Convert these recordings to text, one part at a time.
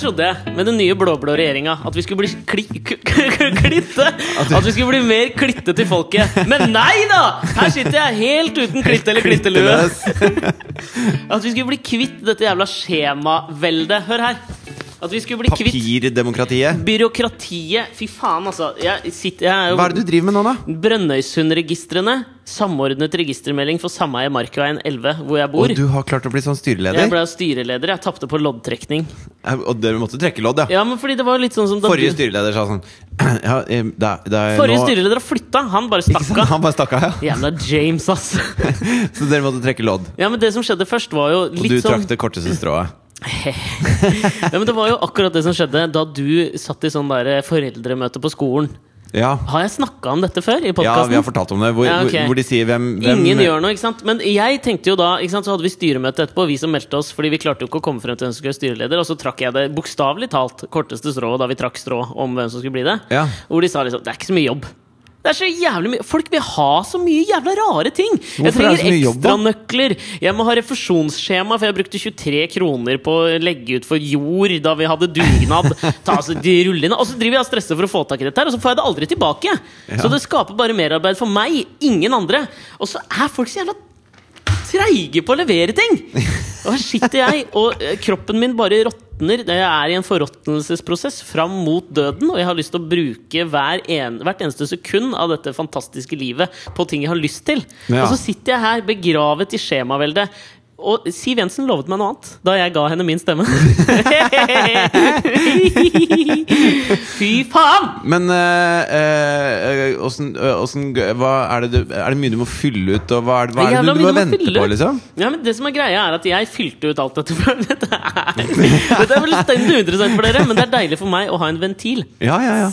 trodde jeg, med den nye blå-blå regjeringa, at vi skulle bli kli, k k klitte! At vi skulle bli mer klitte til folket. Men nei da! Her sitter jeg helt uten klitte eller klittelue. At vi skulle bli kvitt dette jævla skjemaveldet. Hør her. At vi skulle bli kvitt Papirdemokratiet. byråkratiet. Fy faen, altså. Jeg, sitter, jeg er Hva jo er det du driver med nå, da? Brønnøysundregistrene. Samordnet registermelding for sameie Markveien 11, hvor jeg bor. Og du har klart å bli sånn styreleder? Eh, Jeg ble styreleder. Jeg tapte på loddtrekning. Og dere måtte trekke lodd, ja? Ja, men fordi det var jo litt sånn som da Forrige du, styreleder sa sånn ja, eh, da, da, forrige nå- styreleder har flytta. Han bare Ikke sant? stakk av. Han bare stakk av, ja. Jævla James, ass. Så dere måtte trekke lodd. Ja, men det som skjedde først, var jo Og du litt sånn trakk det korteste strået. Ja, men Det var jo akkurat det som skjedde da du satt i sånn der foreldremøte på skolen. Ja. Har jeg snakka om dette før i ja, vi har podkasten? fortalt om eh, det. Hvor, Ja, ok. hvor- hvor de sier hvem, hvem Ingen gjør noe, ikke sant? Men jeg tenkte jo da ikke sant? Så hadde vi styremøte etterpå, vi som meldte oss, fordi vi klarte jo ikke å komme frem til hvem som skulle være styreleder. Og så trakk jeg det bokstavelig talt korteste strået da vi trakk strå om hvem som skulle bli det. Ja. Hvor de sa liksom Det er ikke så mye jobb. Det er så jævlig mye Folk vil ha så mye jævla rare ting! jeg Hvorfor er det trenger så mye jobb, da? ekstranøkler. Jeg må ha refusjonsskjema, for jeg brukte 23 kroner på å legge ut for jord da vi hadde dugnad. Ta, altså, de rullene. Og så driver jeg og stresser for å få tak i dette, her og så får jeg det aldri tilbake! Så det skaper bare merarbeid for meg, ingen andre. Og så er folk så jævla treige på å levere ting! Og her sitter jeg, og eh, kroppen min bare råtner. Jeg er i en forråtnelsesprosess fram mot døden, og jeg har lyst til å bruke hver en, hvert eneste sekund av dette fantastiske livet på ting jeg har lyst til. Ja. Og så sitter jeg her begravet i skjemaveldet. Og Siv Jensen lovet meg noe annet da jeg ga henne min stemme. Fy faen! Men eh, eh, åssen- eh, åssen g- hva er, det du, er det mye du må fylle ut, og hva er det, hva er det Jævla du mye du må må vente fylle på, ut. liksom? Ja, men det som er greia er at jeg fylte ut alt dette før. Dette er, dette er fullstendig uinteressant for dere, men det er deilig for meg å ha en ventil. Ja, ja, ja.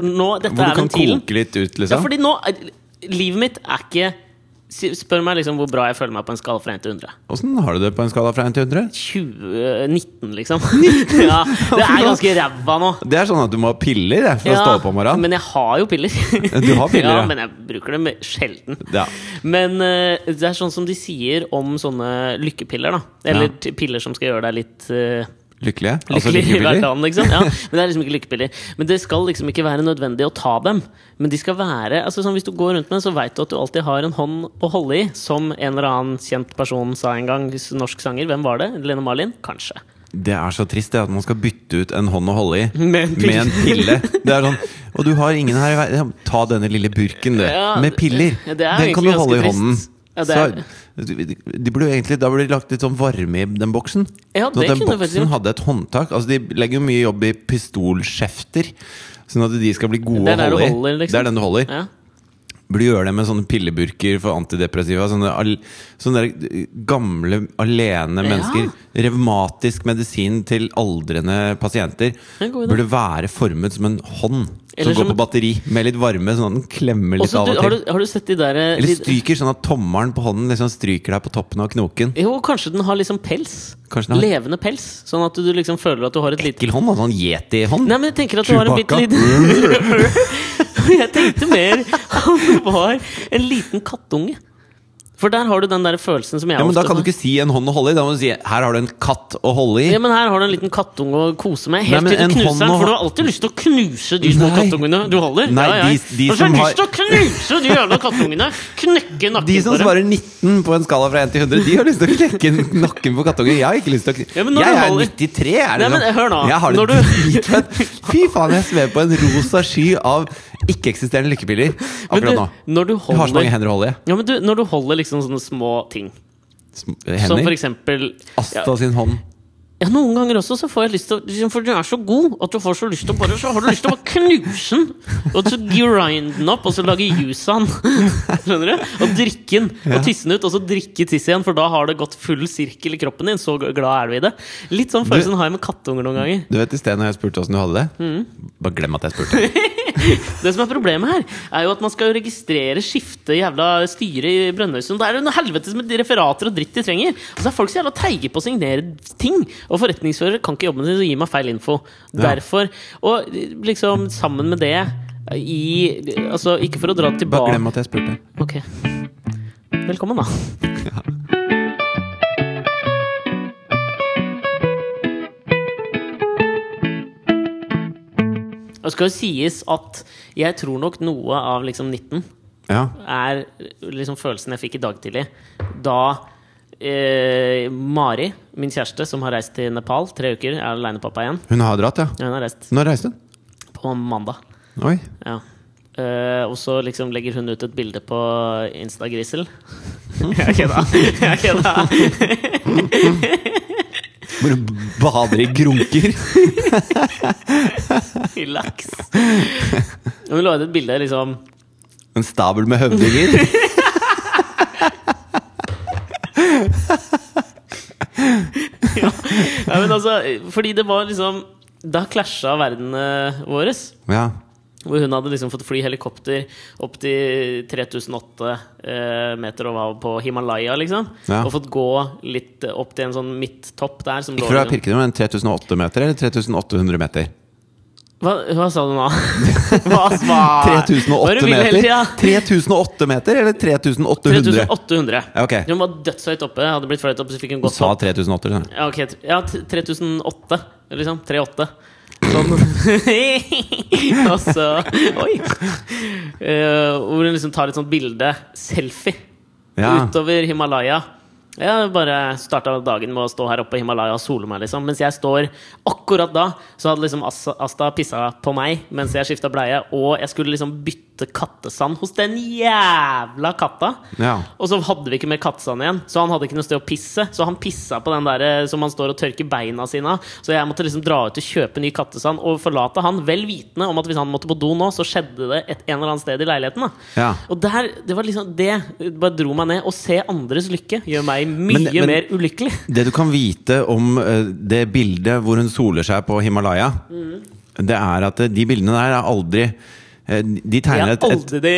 Nå, dette Hvor du er kan ventilen. koke litt ut, Ja, liksom? fordi nå er- Livet mitt er ikke si- Spør meg liksom hvor bra jeg føler meg på en skala fra 1 til 100. Åssen har du det på en skala fra 1 til 100? 2019, liksom. Ja, det er ganske ræva nå. Det er sånn at du må ha piller jeg, for å stå opp om morgenen. Men jeg har jo piller. Du har piller, ja, ja. Men jeg bruker dem sjelden. Ja. Men eh, det er sånn som de sier om sånne lykkepiller, da. Eller Ja. t- piller som skal gjøre deg litt eh, Lykkelige? lykkelig Altså i lykkepiller? hverdagen, liksom. Ja, men det er liksom ikke lykkepiller. Men det skal liksom ikke være nødvendig å ta dem. Men de skal være altså sånn Hvis du går rundt med den, så veit du at du alltid har en hånd å holde i. Som en eller annen kjent person sa en gang. Norsk sanger. Hvem var det? Lene Marlin? Kanskje. Det er så trist det at man skal bytte ut en hånd å holde i Med en pille. med en pille. Det er sånn Og du har ingen her i verden Ta denne lille burken, du. Ja, med piller. ja, det er Den kan egentlig du holde i ganske hånden. trist. Ja, det er- Så de burde jo egentlig, Da burde de lagt litt sånn varme i den boksen. Ja, sånn det at den kunne du faktisk boksen hadde et håndtak. Altså De legger jo mye jobb i pistolskjefter. Sånn at de skal bli Det gode er der du å holde i. holder, liksom. Det er den du holder. Ja. Burde gjøre det med sånne pilleburker for antidepressiva. Sånne, al sånne der eh, gamle, alene mennesker. Revmatisk medisin til aldrende pasienter. er en god idé. Burde være formet som en hånd Eller som går som- på batteri, med litt varme, sånn at den klemmer litt Også, av du, og har, til. du, har du sett de der eh, Eller de- stryker, sånn at tommelen på hånden liksom stryker deg på toppen av knoken. Jo, kanskje den har liksom pels. Kanskje den har- Levende pels. Sånn at du liksom føler at du har et lite Ekkel hånd, da, sånn yeti-hånd. Nei, men jeg tenker at du har en bitte Chewbacca. Mm. liten Jeg tenkte mer om det var en liten kattunge. For der har du den der følelsen som jeg Ja, men Da kan du får. ikke si en hånd å holde i. Da må du si 'her har du en katt å holde i'. Ja, men Her har du en liten kattunge å kose med. Helt Nei, men til du en knuser hånd den. og- For du har alltid lyst til å knuse de små Nei. kattungene du holder. Nei, de- de Og så har som du har- lyst til å knuse de jævla kattungene! Knekke nakken De som på dem. svarer 19 på en skala fra 1 til 100, de har lyst til å knekke nakken på kattunger. Jeg har ikke lyst til å kn- Ja, men når du Jeg er holder- 93, er det Nei, men sånn. hør nå, Jeg har det når du- dritfett. Fy faen, jeg svever på en rosa sky av ikke-eksisterende lykkepiller Men akkurat du, nå. når du Jeg har så mange holder, hender å holde i. ja, men du, når du holder liksom sånne små ting, Sm- som for Hender. eksempel ja, Asta sin hånd. Ja, Noen ganger også så får jeg lyst til å liksom, For du er så god at du får så lyst til å bare Så har du lyst til å bare knuse den! Og så grinde den opp, og så lage juice av den. Skjønner du? Og drikke den. Og tisse den ut, og så drikke tiss igjen, for da har det gått full sirkel i kroppen din. Så glad er du i det. Litt sånn følelsen har jeg med kattunger noen ganger. Du vet i sted når jeg spurte åssen du hadde det? Mm. Bare glem at jeg spurte. Det som er problemet her, er jo at man skal jo registrere skifte jævla styre i Brønnøysund. Det er jo noe helvetes med referater og dritt de trenger. Og så er folk så jævla treige på å signere ting. Og forretningsførere kan ikke jobben sin, så gir meg feil info. Derfor. Og liksom, sammen med det i Altså, ikke for å dra det Bare tilbake glem at jeg spurte. Ok. Velkommen, da. Og skal jo sies at jeg tror nok noe av liksom 19 Ja. er liksom følelsen jeg fikk i dag tidlig. Da eh, Mari, min kjæreste, som har reist til Nepal tre uker, er alenepappa igjen. Hun har dratt, ja. Ja, Hun har reist Når reiste hun? på mandag. Oi. Ja. Eh, og så liksom legger hun ut et bilde på Instagrisel. Jeg kødda. Jeg kødda. Hvor hun bader i grunker. I laks. Og Hun la ut et bilde liksom En stabel med høvdinger. ja, men altså, Fordi det var liksom Da klasja verdenene våre. Ja. Hvor hun hadde liksom fått fly helikopter opp til 3008 eh, meter over havet på Himalaya. liksom Ja. Og fått gå litt opp til en sånn midttopp der. Som lå, Fra liksom- Pirkedal er det 3800 meter eller 3800 meter? hva, hva sa du nå? Hva sa 3008 meter? 3008 meter eller 3800? 3800. Ja, ok. Hun var dødshøyt oppe. Hadde blitt fløyet opp, så fikk hun Du gått sa opp. 3800. sa du. Ja, ok, t- ja, t- 3008, liksom. 38. Sånn. og så Oi! Eh, hvor hun liksom tar et sånt bilde, selfie, Ja. utover Himalaya. Jeg bare starta dagen med å stå her oppe i Himalaya og sole meg, liksom. Mens jeg står akkurat da, så hadde liksom Assa- Asta pissa på meg mens jeg skifta bleie, og jeg skulle liksom bytte kattesand hos den jævla katta. Ja. Og så hadde vi ikke mer kattesand igjen, så han hadde ikke noe sted å pisse. Så han pissa på den der eh, som han står og tørker beina sine av. Så jeg måtte liksom dra ut og kjøpe ny kattesand og forlate han, vel vitende om at hvis han måtte på do nå, så skjedde det et en eller annen sted i leiligheten. da Ja. Og der, det var liksom det bare dro meg ned. Å se andres lykke gjør meg mye Men- men- mer ulykkelig. Det du kan vite om eh, det bildet hvor hun soler seg på Himalaya, Mm. det er at eh, de bildene der er aldri eh, De Jeg tegner er et, et aldri det,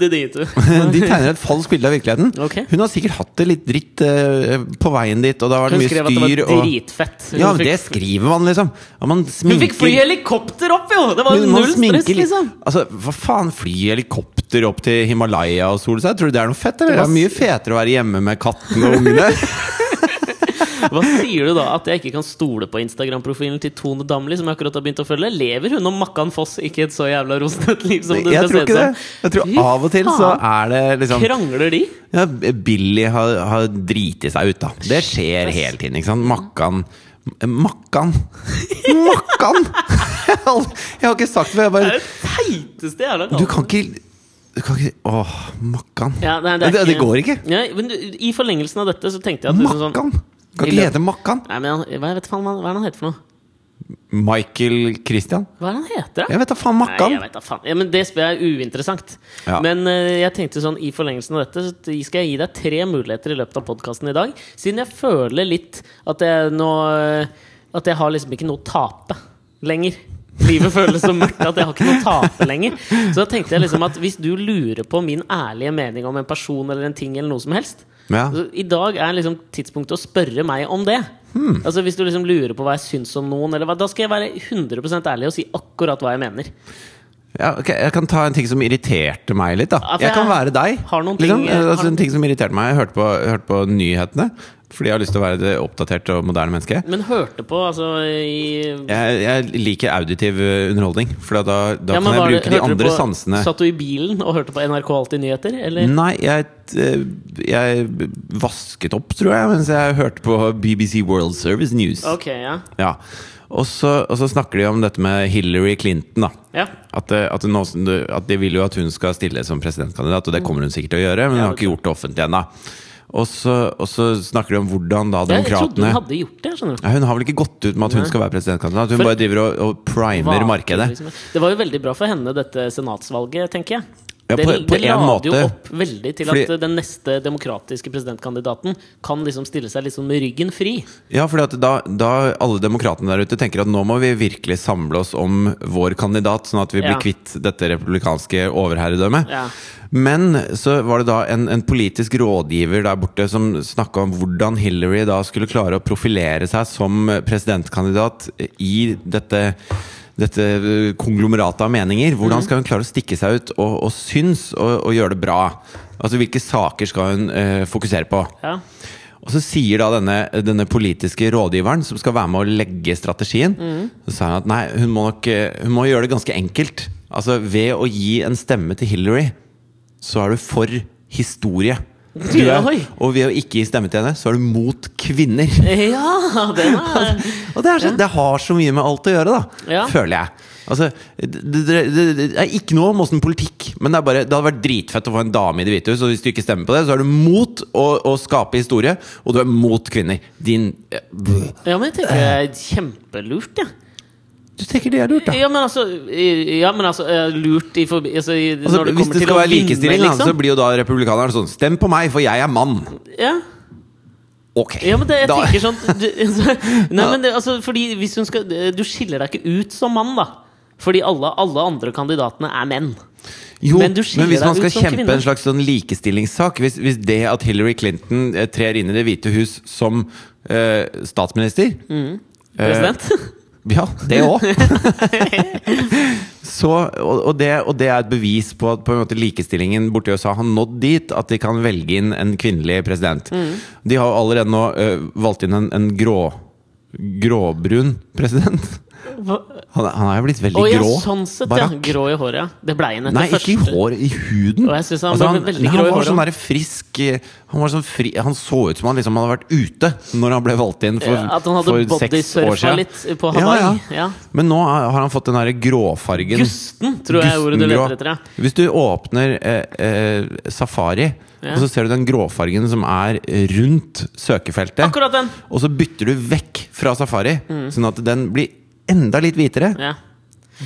det dit, du. de tegner et falskt bilde av virkeligheten. Ok. Hun har sikkert hatt det litt dritt eh, på veien dit, og det har vært Hun mye skrev at det var styr. Og, dritfett. Hun ja, men fikk- det skriver man, liksom. Ja, man hun fikk fly sminker helikopter opp, jo! Det var men jo man null sminker stress, litt. liksom. Altså, Hva faen, fly helikopter opp til Himalaya og sole seg? Tror du det er noe fett? Eller? Det Det var er mye fetere å være hjemme med katten og ungene. Hva sier du da at jeg ikke kan stole på Instagram-profilen til Tone Damli, som jeg akkurat har begynt å følge? Lever hun og Makkan Foss ikke et så jævla rosnet liv som det skal Jeg tror se ut ikke det. som? Jeg tror Fy av og til så er det liksom Krangler de? Ja, Billy har, har driti seg ut, da. Det skjer hele tiden. ikke sant? Makkan Makkan! Makkan! Jeg har ikke sagt det, jeg Det bare er det teiteste jævla Du kallet. kan ikke du kan ikke, Åh, Makkan. Ja, nei, det, det, er det, går ikke. Ja, men du, I forlengelsen av dette så tenkte jeg at liksom sånn Makkan! Kan I løpet- ikke hete Makkan. Nei, men han, hva, jeg vet faen, hva hva er det han heter for noe? Michael Christian. Hva er det han heter, da? Jeg vet da faen, Nei, Makkan! jeg vet da faen. Ja, men det spør jeg er uinteressant. Ja. Men eh, jeg tenkte sånn, i forlengelsen av dette så skal jeg gi deg tre muligheter i løpet av podkasten i dag. Siden jeg føler litt at jeg nå eh, At jeg har liksom ikke noe å tape lenger. Livet føles så mørkt at jeg har ikke noe å tape lenger. Så da tenkte jeg liksom at hvis du lurer på min ærlige mening om en person eller en ting eller noe som helst Ja. så I dag er liksom tidspunktet å spørre meg om det. Hmm. Altså Hvis du liksom lurer på hva jeg syns om noen, eller hva, da skal jeg være 100 ærlig og si akkurat hva jeg mener. Ja, ok, jeg kan ta en ting som irriterte meg litt. da Ja, for Jeg kan jeg være deg. har noen ting- Eh, altså, har- en ting som irriterte meg Jeg hørte på, jeg hørte på nyhetene, fordi jeg har lyst til å være et oppdatert og moderne menneske. Men hørte på, altså i Jeg, jeg liker auditiv eh, underholdning, for da, da Ja, men kan jeg var det- bruke de hørte du andre på, sansene. Satt du i bilen og hørte på NRK Alltid nyheter? Eller? Nei, jeg, eh, jeg vasket opp, tror jeg, mens jeg hørte på BBC World Service News. Ok, ja. Ja. Og, så, og så snakker de om dette med Hillary Clinton, da. ja. At, eh, at, nå, som du- at de vil jo at hun skal stille som presidentkandidat, Mm. og det kommer hun sikkert til å gjøre, men hun har ikke gjort det offentlig ennå. Og så, og så snakker de om hvordan da Jeg, jeg trodde hun demokratene hadde gjort det. skjønner du ja, Hun har vel ikke gått ut med at hun Nei. skal være presidentkandidat, hun For- bare driver og, og primer Vaker, markedet. liksom. Det var jo veldig bra for henne, dette senatsvalget, tenker jeg. Ja, det, på- på det en måte. jo opp veldig til Fordi- at den neste demokratiske presidentkandidaten kan liksom stille seg liksom med ryggen fri. Ja, for da, da alle demokratene der ute tenker at nå må vi virkelig samle oss om vår kandidat, sånn at vi blir Ja. kvitt dette republikanske overherredømmet. Ja. Men så var det da en, en politisk rådgiver der borte som snakka om hvordan Hillary da skulle klare å profilere seg som presidentkandidat i dette dette konglomeratet av meninger. Mhm. Hvordan skal hun klare å stikke seg ut og, og synes og, og gjøre det bra? Altså Hvilke saker skal hun eh, fokusere på? Ja. Og så sier da denne, denne politiske rådgiveren, som skal være med å legge strategien, så sa han at nei, hun må nok eh, hun må gjøre det ganske enkelt. Altså ved å gi en stemme til Hillary, så er du for historie. Du er, Oi. og ved å ikke gi stemme til henne, så er du mot kvinner. Ja, den er Og det, er så, det har så mye med alt å gjøre, da. Ja. Føler jeg. Altså, det, det, det, det er ikke noe om åssen politikk, men det, er bare, det hadde vært dritfett å få en dame i Det hvite hus. Og hvis du ikke stemmer på det, så er du mot å, å skape historie, og du er mot kvinner. Din eh, bøh. Ja, men jeg tenker det er kjempelurt, jeg. Du tenker det er lurt, Ja. da. men altså, ja, men altså eh, Lurt i forbi... Altså, i- når Altså, det hvis kommer det til å skal være vinne, likestilling, da, så liksom. blir jo da republikaneren sånn Stem på meg, for jeg er mann. Ja. Ok. ja, men det, jeg Da- tenker sånn du, altså, Nei, men det, altså, fordi hvis hun skal Du skiller deg ikke ut som mann, da. Fordi alle, alle andre kandidatene er menn. Jo, Men men, du skiller hvis deg man ut skal som kjempe kvinne. en slags sånn likestillingssak hvis, hvis det at Hillary Clinton eh, trer inn i Det hvite hus som eh, statsminister eh, President. Ja, det òg. Så, og, og, det, og det er et bevis på at på en måte likestillingen borti USA har nådd dit at de kan velge inn en kvinnelig president. Mm. De har jo allerede nå eh, valgt inn en, en grå gråbrun president. Hva- Han, han er jo blitt veldig Å ja, grå. sånn sett, ja. Barack. Grå i håret, ja. Det blei hun etter Nei, ikke i første- hår, i huden. Altså, Og jeg synes han ble veldig grå i han var håret. sånn der frisk eh, han, var sånn fri, han så ut som han liksom hadde vært ute når han ble valgt inn for, Ja, at han hadde for seks bodysurfa år siden. litt på Hawaii, ja. Men nå har har han fått den derre gråfargen. Gusten, tror jeg er ordet du Gustengrå. leter etter. Ja. Hvis du åpner eh, eh, Safari, Ja. og så ser du den gråfargen som er rundt søkefeltet, Akkurat den! Mm. og så bytter du vekk fra Safari, sånn at den blir enda litt hvitere. Ja.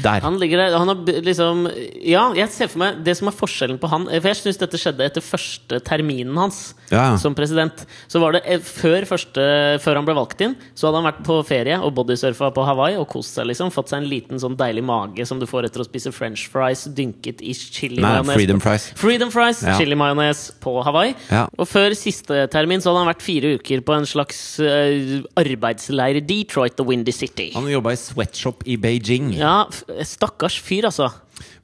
Der. Han ligger der, han har b- liksom Ja, jeg ser for meg det som er forskjellen på han For jeg syns dette skjedde etter første terminen hans Ja. som president. Så var det eh, før, første, før han ble valgt inn, så hadde han vært på ferie og bodysurfa på Hawaii og kost seg, liksom. Fått seg en liten sånn deilig mage som du får etter å spise french fries dynket i chili Nei, majones. Freedom Fries. Freedom fries, Ja. chili majones på Hawaii. Ja. Og før siste termin så hadde han vært fire uker på en slags eh, arbeidsleir i Detroit, The Windy City. Han jobba i sweatshop i Beijing. Ja, f- stakkars fyr, altså.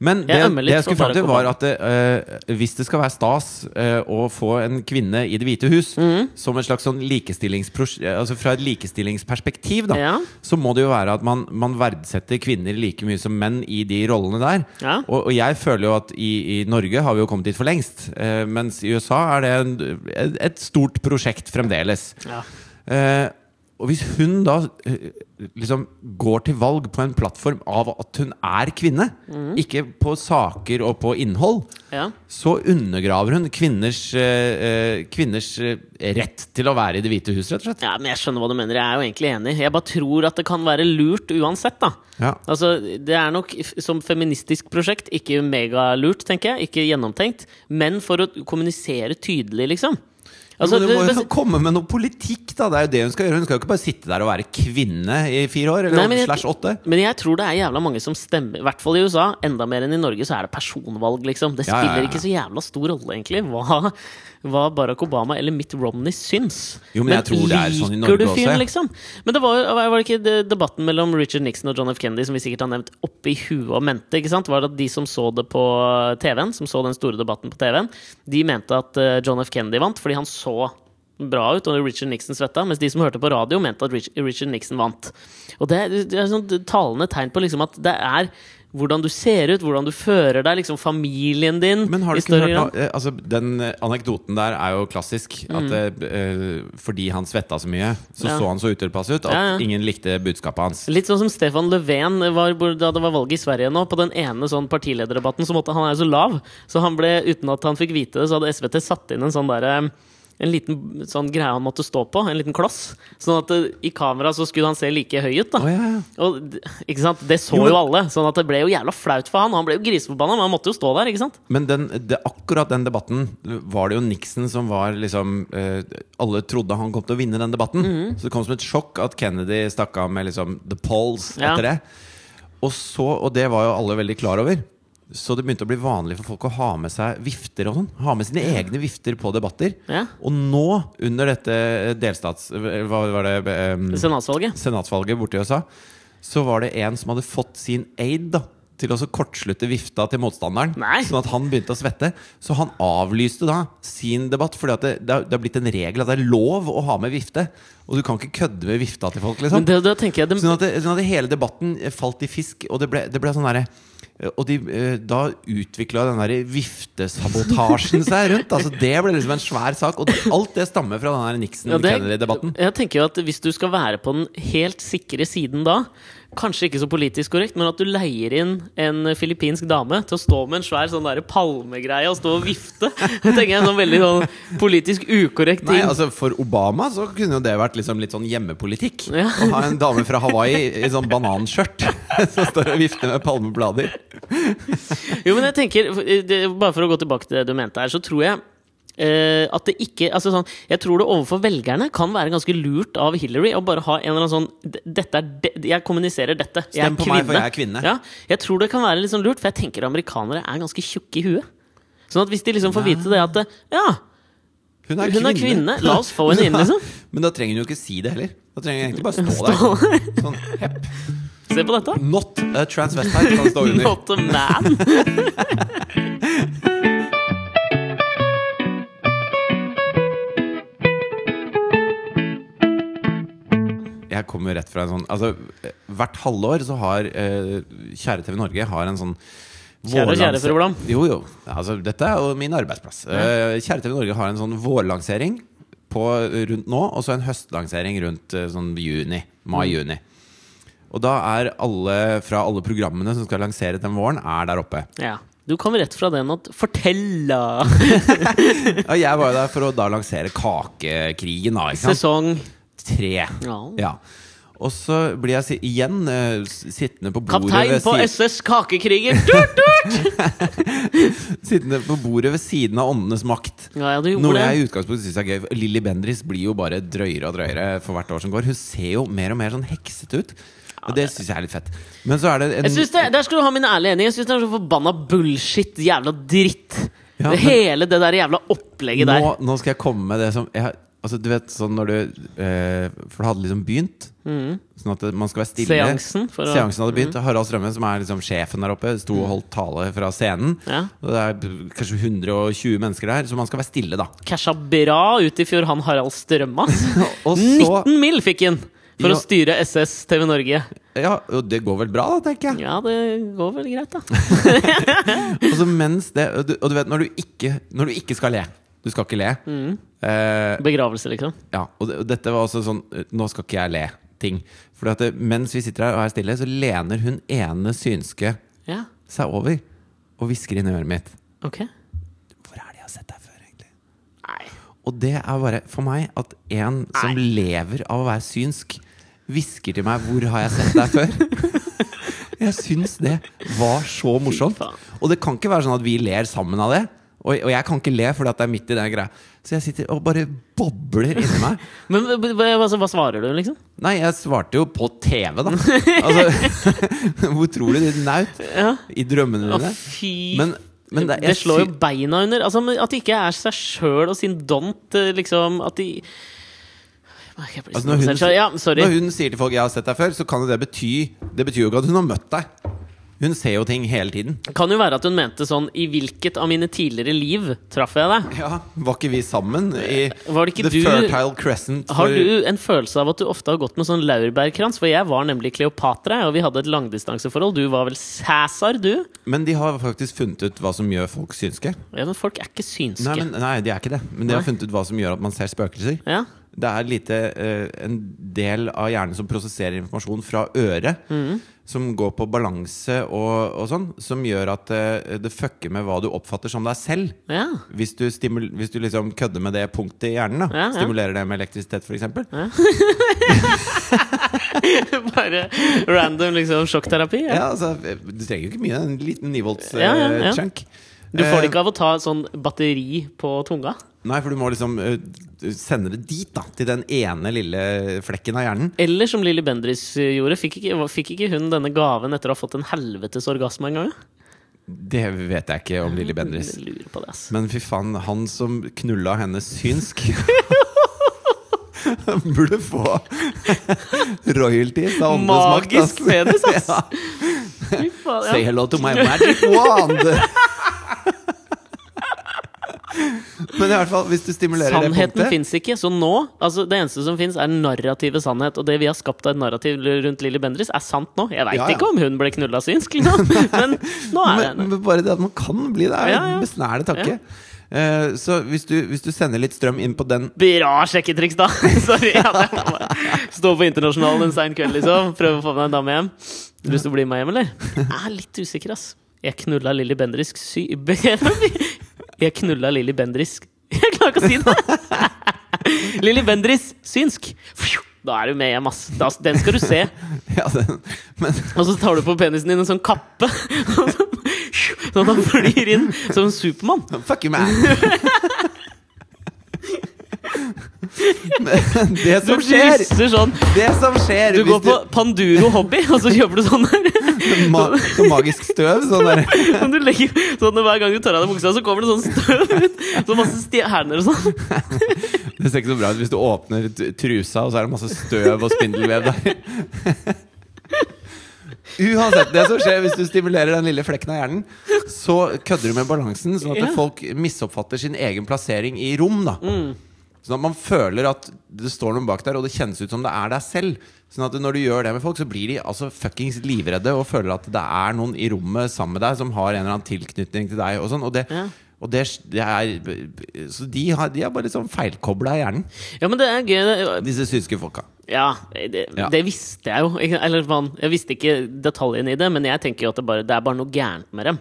Men det Jeg det ømmer jeg, litt skulle for fram til, Barack var at eh, hvis det skal være stas eh, å få en kvinne i Det hvite hus Mhm. som et slags sånn likestillingsprosj- eh, altså fra et likestillingsperspektiv, da, Ja. så må det jo være at man, man verdsetter kvinner like mye som menn i de rollene der. Ja. Og, og jeg føler jo at i, i Norge har vi jo kommet dit for lengst, eh, mens i USA er det en, et- et stort prosjekt fremdeles. Ja. Eh, og hvis hun da eh, liksom går til valg på en plattform av at hun er kvinne, Mm. ikke på saker og på innhold, Ja. så undergraver hun kvinners, eh, eh, kvinners eh, rett til å være i Det hvite hus, rett og slett. ja, men jeg skjønner hva du mener. Jeg er jo egentlig enig. Jeg bare tror at det kan være lurt uansett, da. Ja. Altså, Det er nok f- som feministisk prosjekt ikke megalurt, tenker jeg. Ikke gjennomtenkt. Men for å kommunisere tydelig, liksom. Altså, men du må det- jo komme med noe politikk, da! Det er jo det hun skal gjøre. Hun skal jo ikke bare sitte der og være kvinne i fire år, eller Nei, men jeg- slash åtte. Men jeg tror det er jævla mange som stemmer. I hvert fall i USA. Enda mer enn i Norge så er det personvalg, liksom. Det Ja, ja, spiller ja. ikke så jævla stor rolle, egentlig, hva, hva Barack Obama eller Mitt Romney syns. Jo, men jeg tror det er sånn i Norge liker du fyren, også, ja. liksom? Men det var jo var det ikke det- debatten mellom Richard Nixon og John F. Kennedy som vi sikkert har nevnt oppi huet og mente, ikke sant? Var det at de som så det på TV-en, som så den store debatten på TV-en, de mente at eh, John F. Kennedy vant fordi han så bra ut, og Richard Nixon svetta, mens de som hørte på radio, mente at Rich, Richard Nixon vant. Og det, er- det er sånn talende tegn på liksom at det er hvordan du ser ut, hvordan du fører deg, liksom familien din Men har i du ikke større hørt grad. Mm. noe eh, altså, Den eh, anekdoten der er jo klassisk. At eh, eh, fordi han svetta så mye, så Ja. så han så utilpass ut at Ja, ja. ingen likte budskapet hans. Litt sånn som Stefan Löfven var, hvor- da det var valg i Sverige nå. På den ene sånn partilederdebatten så måtte han er jo så lav, så han ble, uten at han fikk vite det, så hadde SVT satt inn en sånn derre en liten sånn greie han måtte stå på, en liten kloss. Sånn at eh, i kamera så skulle han se like høy ut, da. Å, ja, ja. Og, d- ikke sant? Det så Jo, jo, men- alle, sånn at det ble jo jævla flaut for han. og Han ble jo griseforbanna, men han måtte jo stå der, ikke sant? Men den, det, akkurat den debatten var det jo Nixon som var liksom eh, Alle trodde han kom til å vinne den debatten. Mhm. Så det kom som et sjokk at Kennedy stakk av med liksom the polls Ja. etter det. Og, så, og det var jo alle veldig klar over. Så det begynte å bli vanlig for folk å ha med seg vifter og sånn. Ha med sine egne vifter på debatter. Ja. Og nå, under dette eh, delstats... Hva var det? eh, Senatsvalget. senatsvalget borti USA, så var det en som hadde fått sin aid da, til å så kortslutte vifta til motstanderen. Nei. Sånn at han begynte å svette. Så han avlyste da sin debatt, fordi at det, det, har, det har blitt en regel at det er lov å ha med vifte. Og du kan ikke kødde med vifta til folk, liksom. Men det, det tenker jeg det, Sånn at, det, sånn at hele debatten falt i fisk, og det ble, det ble sånn derre og de, eh, da utvikla den der viftesabotasjen seg rundt. Altså Det ble liksom en svær sak. Og alt det stammer fra den der Ja, det- Nixon-Kennedy-debatten. Jeg tenker jo at Hvis du skal være på den helt sikre siden da, kanskje ikke så politisk korrekt, men at du leier inn en filippinsk dame til å stå med en svær sånn der palmegreie og stå og vifte, det tenker jeg er en sånn veldig sånn politisk ukorrekt Nei, ting. altså For Obama så kunne jo det vært liksom litt sånn hjemmepolitikk. Ja. Å ha en dame fra Hawaii i sånn bananskjørt som står og vifter med palmeblader. Jo, men jeg tenker, det, bare for å gå tilbake til det du mente her, så tror jeg eh, at det ikke altså sånn, Jeg tror det overfor velgerne kan være ganske lurt av Hillary å bare ha en eller annen sånn "D- dette er de, Jeg kommuniserer dette. Jeg Stem på meg, for jeg er kvinne. Ja, jeg tror det kan være litt sånn lurt, for jeg tenker amerikanere er ganske tjukke i huet. Sånn at hvis de liksom får vite det at eh, Ja, Hun Hun er kvinne. La oss få henne inn, liksom. Men da trenger hun jo ikke si det heller. Da trenger hun egentlig bare stå der. Sånn, hepp. se på dette! Not a transvestite kan stå under. Not a man! Jeg kommer rett fra en sånn altså, eh, Hvert halvår så har eh, Kjære TV Norge har en sånn Kjære og kjære, vårlanse- fru Blom. Jo, jo. Altså, dette er jo min arbeidsplass. Eh, Kjære TV Norge har en sånn vårlansering på, rundt nå, og så en høstlansering rundt eh, sånn juni. Mm. Mai-juni. Og da er alle fra alle programmene som skal lansere den våren, er der oppe. Ja. Du kommer rett fra den at Fortella! Ja, jeg var jo der for å da lansere kakekrigen, da. Ikke sant? Sesong Tre. ja. Ja. Og så blir jeg si igjen eh, s- sittende på bordet Kaptein ved på siden- SS Kakekriger! Tut, tut! Sittende på bordet ved siden av åndenes makt. Ja, ja, du gjorde Noe det. jeg i utgangspunktet synes er gøy. for Lilly Bendriss blir jo bare drøyere og drøyere for hvert år som går. Hun ser jo mer og mer sånn heksete ut. Og det syns jeg er litt fett. Men så er det en Jeg synes det, Der skal du ha min ærlige enig. Jeg synes det er så forbanna bullshit. Jævla dritt. Ja, det men- hele det der jævla opplegget der. nå, nå skal jeg komme med det som jeg, Altså du vet sånn når du eh, For det hadde liksom begynt. Sånn at det- man skal være stille. Seansen, Mm. for å- Mm. Seansen hadde begynt. Harald Strømmen, som er liksom sjefen der oppe, sto og holdt tale fra scenen. Ja. Og det er b- kanskje 120 mennesker der, så man skal være stille, da. Casha bra ut i fjor, han Harald Strømma. Og så 19 mill. fikk han for Ja. å styre SS TV Norge. Ja, og det går vel bra, da, tenker jeg. Ja, det går vel greit, da. Og så mens det Og du, og du vet, når du, ikke, når du ikke skal le Du skal ikke le eh, Begravelse, liksom. Ja, og, det, og dette var også sånn eh, Nå skal ikke jeg le ting Fordi at det, mens vi sitter her og er stille Så lener hun ene synske Ja, seg over Og visker inn i øret mitt ok. Hvor er det jeg har sett deg før egentlig? Nei. Og det er bare for meg at en som lever av å være synsk Visker til meg hvor har jeg sett deg før? Jeg syns det var så morsomt. faen. Og det kan ikke være sånn at vi ler sammen av det. Og, og jeg kan ikke le fordi at det er midt i den greia. Så jeg sitter og bare bobler inni meg. Men hva- hva- altså, hva svarer du, liksom? Nei, jeg svarte jo på TV, da. Altså, hvor tror du de naut? Ja. I drømmene Å, dine? fy Men, men det, det jeg slår jo sy- beina under. Altså, men At de ikke er seg sjøl og sin dont, eh, liksom. At de Jeg blir Altså, så når, selv- hun, Ja, sorry. når hun sier til folk 'jeg har sett deg før', så kan jo det bety Det betyr jo ikke at hun har møtt deg. Hun ser jo ting hele tiden. Kan jo være at hun mente sånn I hvilket av mine tidligere liv traff jeg deg? Ja, Var ikke vi sammen i Eh, Var det ikke The du- Fertile Crescent? Har for- du en følelse av at du ofte har gått med sånn laurbærkrans? For jeg var nemlig Kleopatra, og vi hadde et langdistanseforhold. Du var vel Cæsar, du? Men de har faktisk funnet ut hva som gjør folk synske. Ja, men folk er ikke synske. Nei, men, nei, de er ikke det. Men de har funnet ut hva som gjør at man ser spøkelser. Ja. Det er lite, eh, en del av hjernen som prosesserer informasjon fra øret, Mm. som går på balanse og, og sånn, som gjør at eh, det fucker med hva du oppfatter som deg selv. Ja. Hvis du, stimul hvis du liksom kødder med det punktet i hjernen, da, Ja, ja. stimulerer det med elektrisitet f.eks., ja. Bare random liksom sjokkterapi? Ja. ja, altså, du trenger jo ikke mye, en liten 9 volts eh, Ja, ja, ja. chunk. Du får det Eh, ikke av å ta sånn batteri på tunga? Nei, for du må liksom eh, sende det dit, da. Til den ene lille flekken av hjernen. Eller som Lilly Bendriss eh, gjorde, fikk ikke, fikk ikke hun denne gaven etter å ha fått en helvetes orgasme en gang? Det vet jeg ikke om Lilly Bendriss. Jeg Lurer på det, ass. Men fy faen, han som knulla henne synsk Han burde få royalties av åndenes makt. Magisk altså. penis, ass! Ja. Fy faen, Say ja. hello to my magic wand! Men i hvert fall, hvis du stimulerer det Sannheten punktet fins ikke. Så nå, altså Det eneste som fins, er narrativet sannhet. Og det vi har skapt av et narrativ rundt Lilly Bendriss, er sant nå. Jeg veit Ja, ja. ikke om hun ble knulla synsk, liksom. men nå er men, det men bare det at man kan bli det, er jo Ja, ja. en besnærende tanke. Eh, så hvis du, hvis du sender litt strøm inn på den Bra sjekketriks, da! Sorry. Ja, det er bare- Stå på Internasjonalen en sein kveld, liksom. Prøve å få meg en dame hjem. Har du lyst til å bli med hjem, eller? Jeg er litt usikker, ass. Jeg knulla Lilly Bendriss sy... Jeg knulla Lilly Bendriss Jeg klarer ikke å si det! Lilly Bendriss synsk. Da er du med hjem, ass. Da- Den skal du se. ja, den, men, Og så tar du på penisen din en sånn kappe, sånn at han flyr inn som en Supermann. Fuck you, man! Men det Du som skjer brister sånn. Det som skjer Du hvis går på Panduro Hobby, og så kjøper du sånn der. du ma sånn magisk støv sånn der. Som du legger sånn at Hver gang du tar av deg buksa, så kommer det sånn støv ut. Så masse stjerner og sånn. Det ser ikke så bra ut hvis du åpner t- trusa, og så er det masse støv og spindelvev der. Uansett, det som skjer hvis du stimulerer den lille flekken av hjernen, så kødder du med balansen, sånn at Ja. Mm. folk misoppfatter sin egen plassering i rom. da Sånn at man føler at det står noen bak der, og det kjennes ut som det er deg selv. Sånn at når du gjør det med folk, så blir de altså fuckings livredde og føler at det er noen i rommet sammen med deg som har en eller annen tilknytning til deg. Og sånn, og det, Ja. og det, det er Så de har, de har bare liksom feilkobla hjernen, Ja, men det er gøy. det- disse synske folka. Ja, det, Ja. det visste jeg jo. Ikke, eller faen, jeg visste ikke detaljene i det, men jeg tenker jo at det, bare, det er bare noe gærent med dem.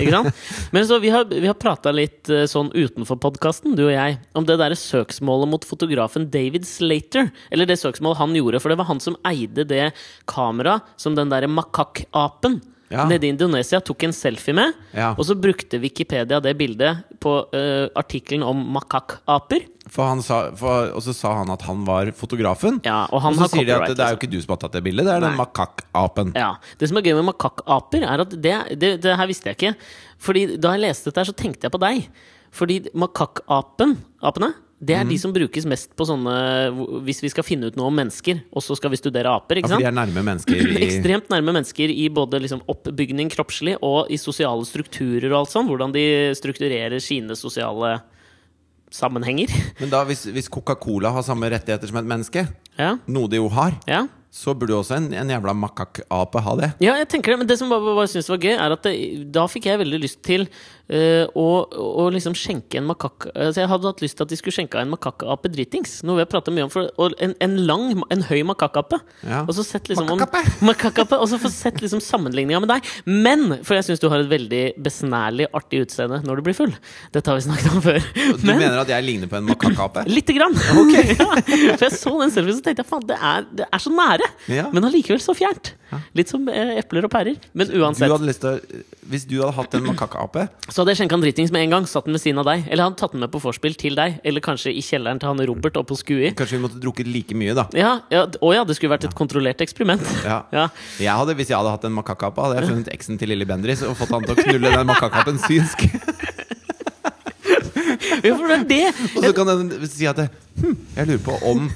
Ikke sant? Men så vi har, vi har prata litt eh, sånn utenfor podkasten, du og jeg, om det derre søksmålet mot fotografen David Slater. Eller det søksmålet han gjorde, for det var han som eide det kameraet som den derre makakkapen Ja. nede i Indonesia tok en selfie med. Ja. Og så brukte Wikipedia det bildet på eh, artikkelen om makakkaper. For han sa, for, og så sa han at han var fotografen. Ja, og han så har sier de at copyright, liksom. det er jo ikke du som har tatt det bildet, det er den Nei. makakkapen. Ja, Det som er gøy med makakkaper, er at det, det, det her visste jeg ikke. Fordi Da jeg leste dette, her, så tenkte jeg på deg. Fordi makakkapen, apene, det Mhm. er de som brukes mest på sånne hvor- Hvis vi skal finne ut noe om mennesker, og så skal vi studere aper. Ja, ikke for sant? de er nærme mennesker i Ekstremt nærme mennesker i både liksom oppbygning kroppslig og i sosiale strukturer og alt sånn. Hvordan de strukturerer sine sosiale sammenhenger. Men da, hvis, hvis Coca-Cola har samme rettigheter som et menneske, Ja, noe de jo har, ja så burde jo også en, en jævla makakape ha det. Ja, jeg tenker det, men det som bare, bare synes var gøy, er at det, da fikk jeg veldig lyst til eh, å, å liksom skjenke en makakk... Altså jeg hadde hatt lyst til at de skulle skjenke en makakkape dritings. Noe vi har pratet mye om. For, og en, en lang, en høy makakkape. Ja. Og så sett liksom om- Makakkape! Makakkape, Og så få sett liksom sammenligninga med deg. Men, for jeg syns du har et veldig besnærlig, artig utseende når du blir full. Dette har vi snakket om før. Du mener at jeg ligner på en makakape? Lite grann. ja, for jeg så den selfien så tenkte jeg faen, det er, det er så nære. Ja. Men allikevel så fjernt. Litt som eh, epler og pærer. Men Du uansett. hadde lyst til å, hvis du hadde hatt en makakape Så hadde jeg skjenka han dritings med en gang. Satt den ved siden av deg. Eller han tatt den med på vorspiel til deg. Eller kanskje i kjelleren til han Robert oppe hos Skui. Kanskje vi måtte drukket like mye, da. Ja, ja, d- å ja, det skulle vært et kontrollert eksperiment. Ja. Ja. Jeg hadde, hvis jeg hadde hatt en makakape, hadde jeg funnet eksen til Lilly Bendriss og fått han til å knulle den makakapen synsk. Ja, for det er det! Og så kan den si at hm, jeg lurer på om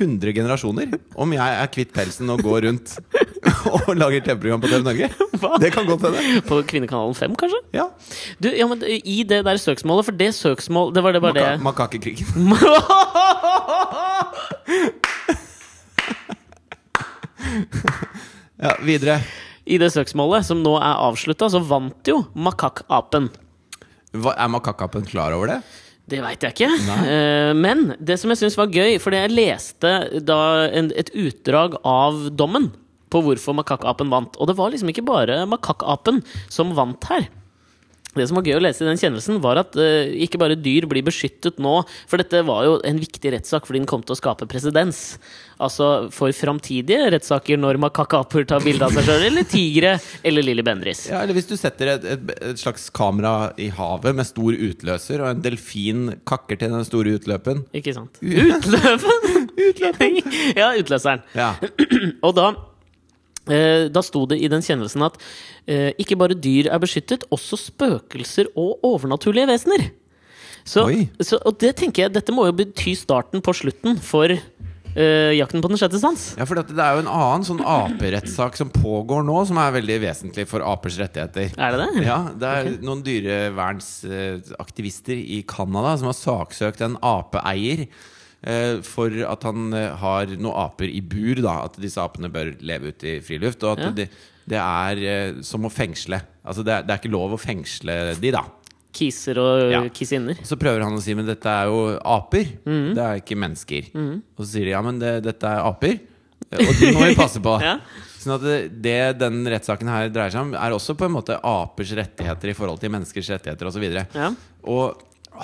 100 generasjoner Om jeg er kvitt pelsen og går rundt og lager TV-program på TV Norge. Det kan godt hende. På Kvinnekanalen 5, kanskje? Ja. Du, ja, men eh, I det der søksmålet, for det søksmål Det var det bare Maka det Makakekrigen. Ja, videre. I det søksmålet, som nå er avslutta, så vant jo makakkapen. Hva, er makakapen klar over det? Det veit jeg ikke. Eh, men det som jeg syns var gøy, fordi jeg leste da en, et utdrag av dommen på hvorfor makakkapen vant. Og det var liksom ikke bare makakkapen som vant her. Det som var gøy å lese i den kjennelsen, var at eh, ikke bare dyr blir beskyttet nå, for dette var jo en viktig rettssak fordi den kom til å skape presedens. Altså for framtidige rettssaker når makakkaper tar bilde av seg sjøl, eller tigre, eller Lilly Bendriss. Ja, eller hvis du setter et, et, et slags kamera i havet med stor utløser, og en delfin kakker til den store utløpen Ikke sant? Utløpen! Utløpen. ja, utløseren. Ja. Og da eh, da sto det i den kjennelsen at eh, ikke bare dyr er beskyttet, også spøkelser og overnaturlige vesener. Så, Oi. så, og det tenker jeg, dette må jo bety starten på slutten for eh, 'Jakten på den sjette sans'. Ja, for dette, Det er jo en annen sånn aperettssak som pågår nå, som er veldig vesentlig for apers rettigheter. Er det det? Ja, Det er noen dyrevernsaktivister eh, i Canada som har saksøkt en apeeier eh, for at han eh, har noen aper i bur. da At disse apene bør leve ute i friluft. Og at Ja. det, det er eh, som å fengsle. Altså det er, det er ikke lov å fengsle de, da. Kiser og eh, Ja. kissinner. Så prøver han å si men dette er jo aper. Mm. Det er ikke mennesker. Og så sier de ja, men det, dette er aper, og de må vi passe på. Ja. Sånn at det, det den rettssaken her dreier seg om, er også på en måte apers rettigheter i forhold til menneskers rettigheter osv. Ja. Og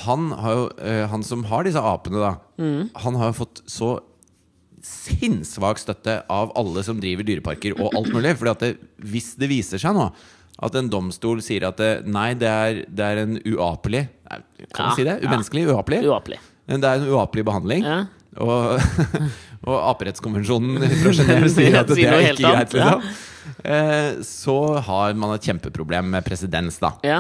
han, har jo, eh, han som har disse apene, da, Mm. han har jo fått så sinnssvak støtte av alle som driver dyreparker og alt mulig. Fordi at det, hvis det viser seg nå at en domstol sier at det, nei, det er, det er en uapelig nei, Kan Ja, man si det? ja. Umenneskelig? Uapelig? Uapelig. Men det er en uapelig behandling. Ja. Og, og aperettskonvensjonen fra Genève sier at Sier det noe er helt ikke annet, greit. Liksom. Eh, Så har man et kjempeproblem med presedens, da. Ja.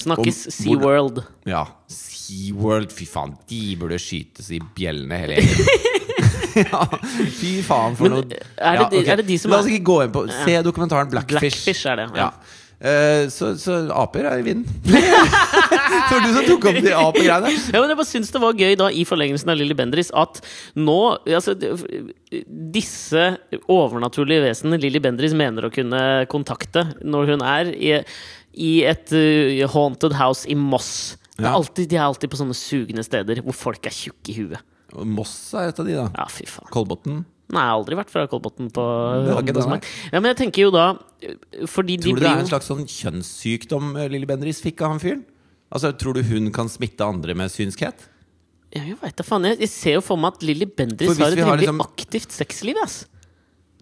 Snakkes Om- SeaWorld. Ja, SeaWorld, fy faen, de burde skytes i bjellene hele gjengen. ja, fy faen for Men, eh, noe er det de- ok. er det de som La er- oss ikke gå inn på Se dokumentaren Blackfish. Blackfish er det, ja. ja. Eh, så, så aper er i vinden. Så var det du som tok opp de apegreiene. Ja, men jeg bare syns det var gøy da, i forlengelsen av Lilly Bendriss, at nå altså, Disse overnaturlige vesenene Lilly Bendriss mener å kunne kontakte når hun er i, i et uh, haunted house i Moss. Det er Ja. alltid, de er alltid på sånne sugende steder hvor folk er tjukke i huet. Og Moss er et av de, da. Ja, fy faen. Kolbotn. Nei, jeg har aldri vært fra Kolbotn på Det har ikke det, Ombesmark. Ja, men jeg tenker jo da Fordi de Tror du det blir er en jo slags sånn kjønnssykdom eh, Lilly Bendriss fikk av han fyren? Altså, Tror du hun kan smitte andre med synskhet? Ja, Jeg vet da faen. Jeg, jeg ser jo for meg at Lilly For Bendriss hvis har et vi har rimelig liksom- aktivt sexliv, ass.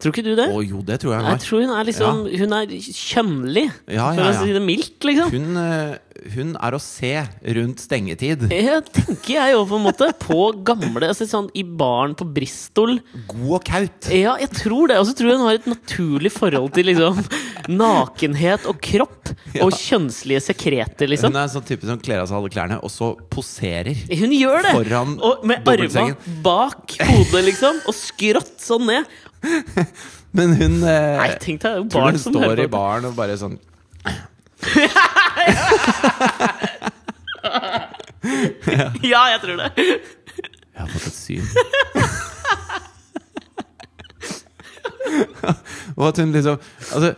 Tror ikke du det? Å jo, det tror jeg hun Jeg har. tror hun er liksom Hun er kjønnlig, Ja, for ja, å ja. si det mildt, liksom. Hun, eh, hun er å se rundt stengetid. Jeg tenker jeg jo på en måte på gamle altså sånn I baren på Bristol. God og kaut. Ja, jeg tror det. Og så tror jeg hun har et naturlig forhold til liksom nakenhet og kropp. Og kjønnslige sekreter, liksom. Hun er en sånn type som kler av seg alle klærne, og så poserer. Hun gjør det! Foran og med arma dobbeltsengen. bak hodet, liksom. Og skrått sånn ned. Men hun eh, Nei, tenk deg det er jo barn tror hun som hører står i på. dette. baren og bare sånn Ja, jeg tror det. Jeg har fått et syn. Og at hun liksom altså,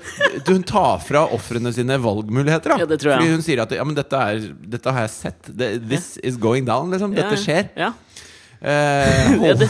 Hun tar fra ofrene sine valgmuligheter. Da. Ja, det tror jeg. Fordi hun sier at ja, men dette, er, dette har jeg sett. Det- This is going down. Liksom. Dette skjer. Ja, ja. Eh, Ja, det,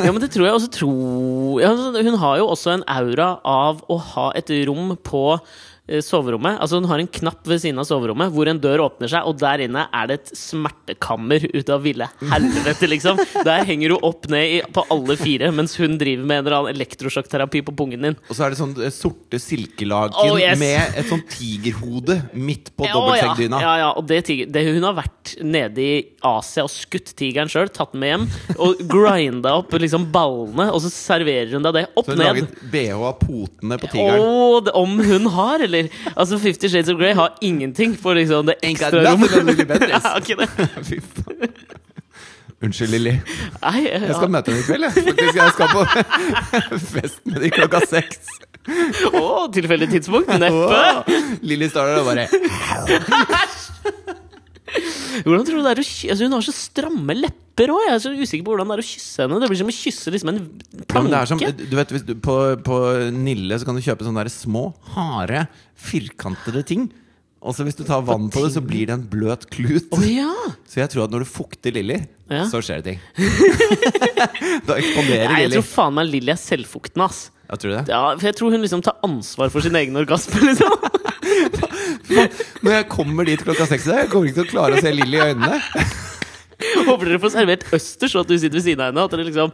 ja, men det tror jeg også tror ja, altså, Hun har jo også en aura av å ha et rom på eh, soverommet. Altså Hun har en knapp ved siden av soverommet hvor en dør åpner seg, og der inne er det et smertekammer ut av ville helvete, liksom. Der henger hun opp ned i, på alle fire mens hun driver med en eller annen elektrosjokkterapi på pungen din. Og så er det sånn eh, sorte silkelaken Oh, yes. med et sånt tigerhode midt på Å, ja. dobbeltseggdyna. Ja, ja, og det, tiger- det, hun har vært nede i Asia og skutt tigeren sjøl, tatt den med hjem og grinda opp liksom ballene, og så serverer hun deg det opp Så hun ned. laget bh av potene på tigeren. Åh, det- om hun har, eller? Altså, Fifty Shades of Grey har ingenting for liksom, det Ain't got ekstra rommet. nothing on Lily Bendriss. ja, ikke det. Fy faen. Unnskyld, Lilly. Nei, ja. Jeg skal møte henne i kveld. Jeg, Faktisk, jeg skal på fest med de klokka seks. Åh, tilfeldig tidspunkt? Neppe. Åh. Lilly står der og bare Hvordan tror du det er å ky- altså, Hun har så stramme lepper òg. Jeg er så usikker på hvordan det er å kysse henne. Det blir som å kysse liksom, en ja, men det er som, planke. du vet, hvis du, på, på Nille så kan du kjøpe sånne der små, harde, firkantede ting. Og så hvis du tar vann på det, så blir det en bløt klut. Å ja! Så jeg tror at når du fukter Lilly, Ja. så skjer det ting. da ekspanderer Nei, jeg Lilly. tror faen meg Lilly er selvfukten, ass. Ja, tror du det? Ja, for jeg tror hun liksom tar ansvar for sin egen orgasme, liksom. Når jeg kommer dit klokka seks i dag, jeg kommer ikke til å klare å se Lilly i øynene. Håper dere får servert østers, og at du sitter ved siden av henne. At dere liksom,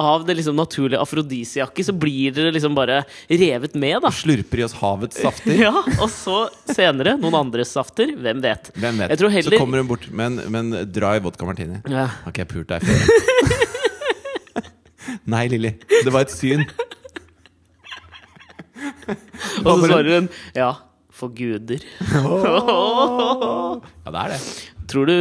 av det liksom naturlige afrodisiaket, så blir dere liksom bare revet med, da. Slurper i oss havets safter. Ja, og så senere noen andres safter. Hvem vet? Hvem vet? Jeg tror heller Så kommer hun bort med en, med en dry vodka martini. ja. Har ikke jeg pult deg før? Nei, Lilly. Det var et syn. Og så svarer hun ja, for guder. Ja, det er det. Tror du,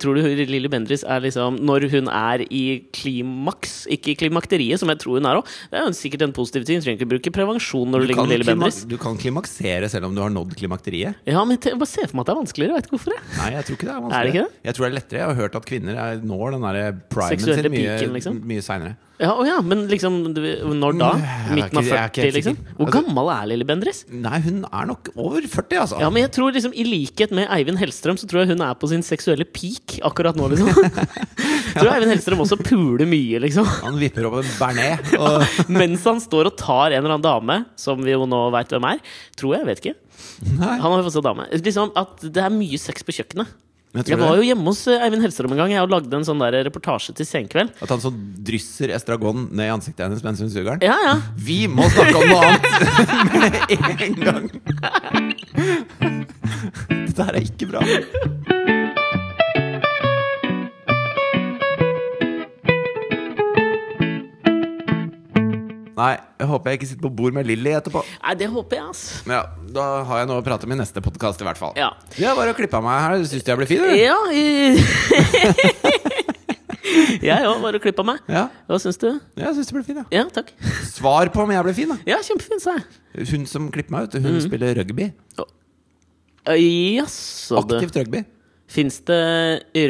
tror du Lilly Bendriss er liksom Når hun er i klimaks, ikke i klimakteriet, som jeg tror hun er òg Det er jo sikkert en positiv ting. Du trenger ikke bruke prevensjon når du, ligger med Lilly klima- Bendriss. du kan klimaksere selv om du har nådd klimakteriet. Ja, men te- jeg bare ser for meg at det er vanskeligere. Jeg vet ikke hvorfor. Jeg. Nei, jeg tror ikke det er Er vanskelig. det ikke det? Jeg tror det er lettere. Jeg har hørt at kvinner er, når den der primen Seksuelle sin mye, piken, liksom? mye seinere. Ja, å ja, Men liksom, du, når da? Mm, jeg er Midten av ikke- jeg er 40, ikke helt liksom? sikker. Hvor Altså- gammel er Lilly Bendriss? Nei, hun er nok over 40, altså. Ja, men jeg tror liksom I likhet med Eivind Hellstrøm, så tror jeg hun er på sin seksuelle peak akkurat nå. liksom Tror Eivind Hellstrøm også puler mye, liksom. Han vipper opp en bearnés. Og... Mens han står og tar en eller annen dame, som vi jo nå veit hvem er. Tror jeg, jeg vet ikke. Nei, Han har jo fått seg dame. Liksom at det er mye sex på kjøkkenet. men jeg Jeg tror var det. jo hjemme hos eh, Eivind Hellstrøm en gang Jeg og lagde en sånn der reportasje til Senkveld. At han så drysser estragon ned i ansiktet hennes mens hun suger den. Ja, ja. Vi må snakke om noe annet med en gang! Dette her er ikke bra. Nei, jeg håper jeg ikke sitter på bord med Lilly etterpå. Nei, det håper jeg, ass. Men ja, Da har jeg noe å prate om i neste podkast, i hvert fall. Ja. Det er bare å klippe av meg her. Syns du jeg ble fin, eller? Ja i... Jeg òg, bare klippa meg. Ja, Hva syns du? jeg syns du ble fin, ja. Ja, takk. Svar på om jeg ble fin, da. Ja, kjempefin, sa jeg. Hun som klipper meg ut, Mhm. hun spiller rugby. Ø, Jaså, du. Aktivt rugby. Fins det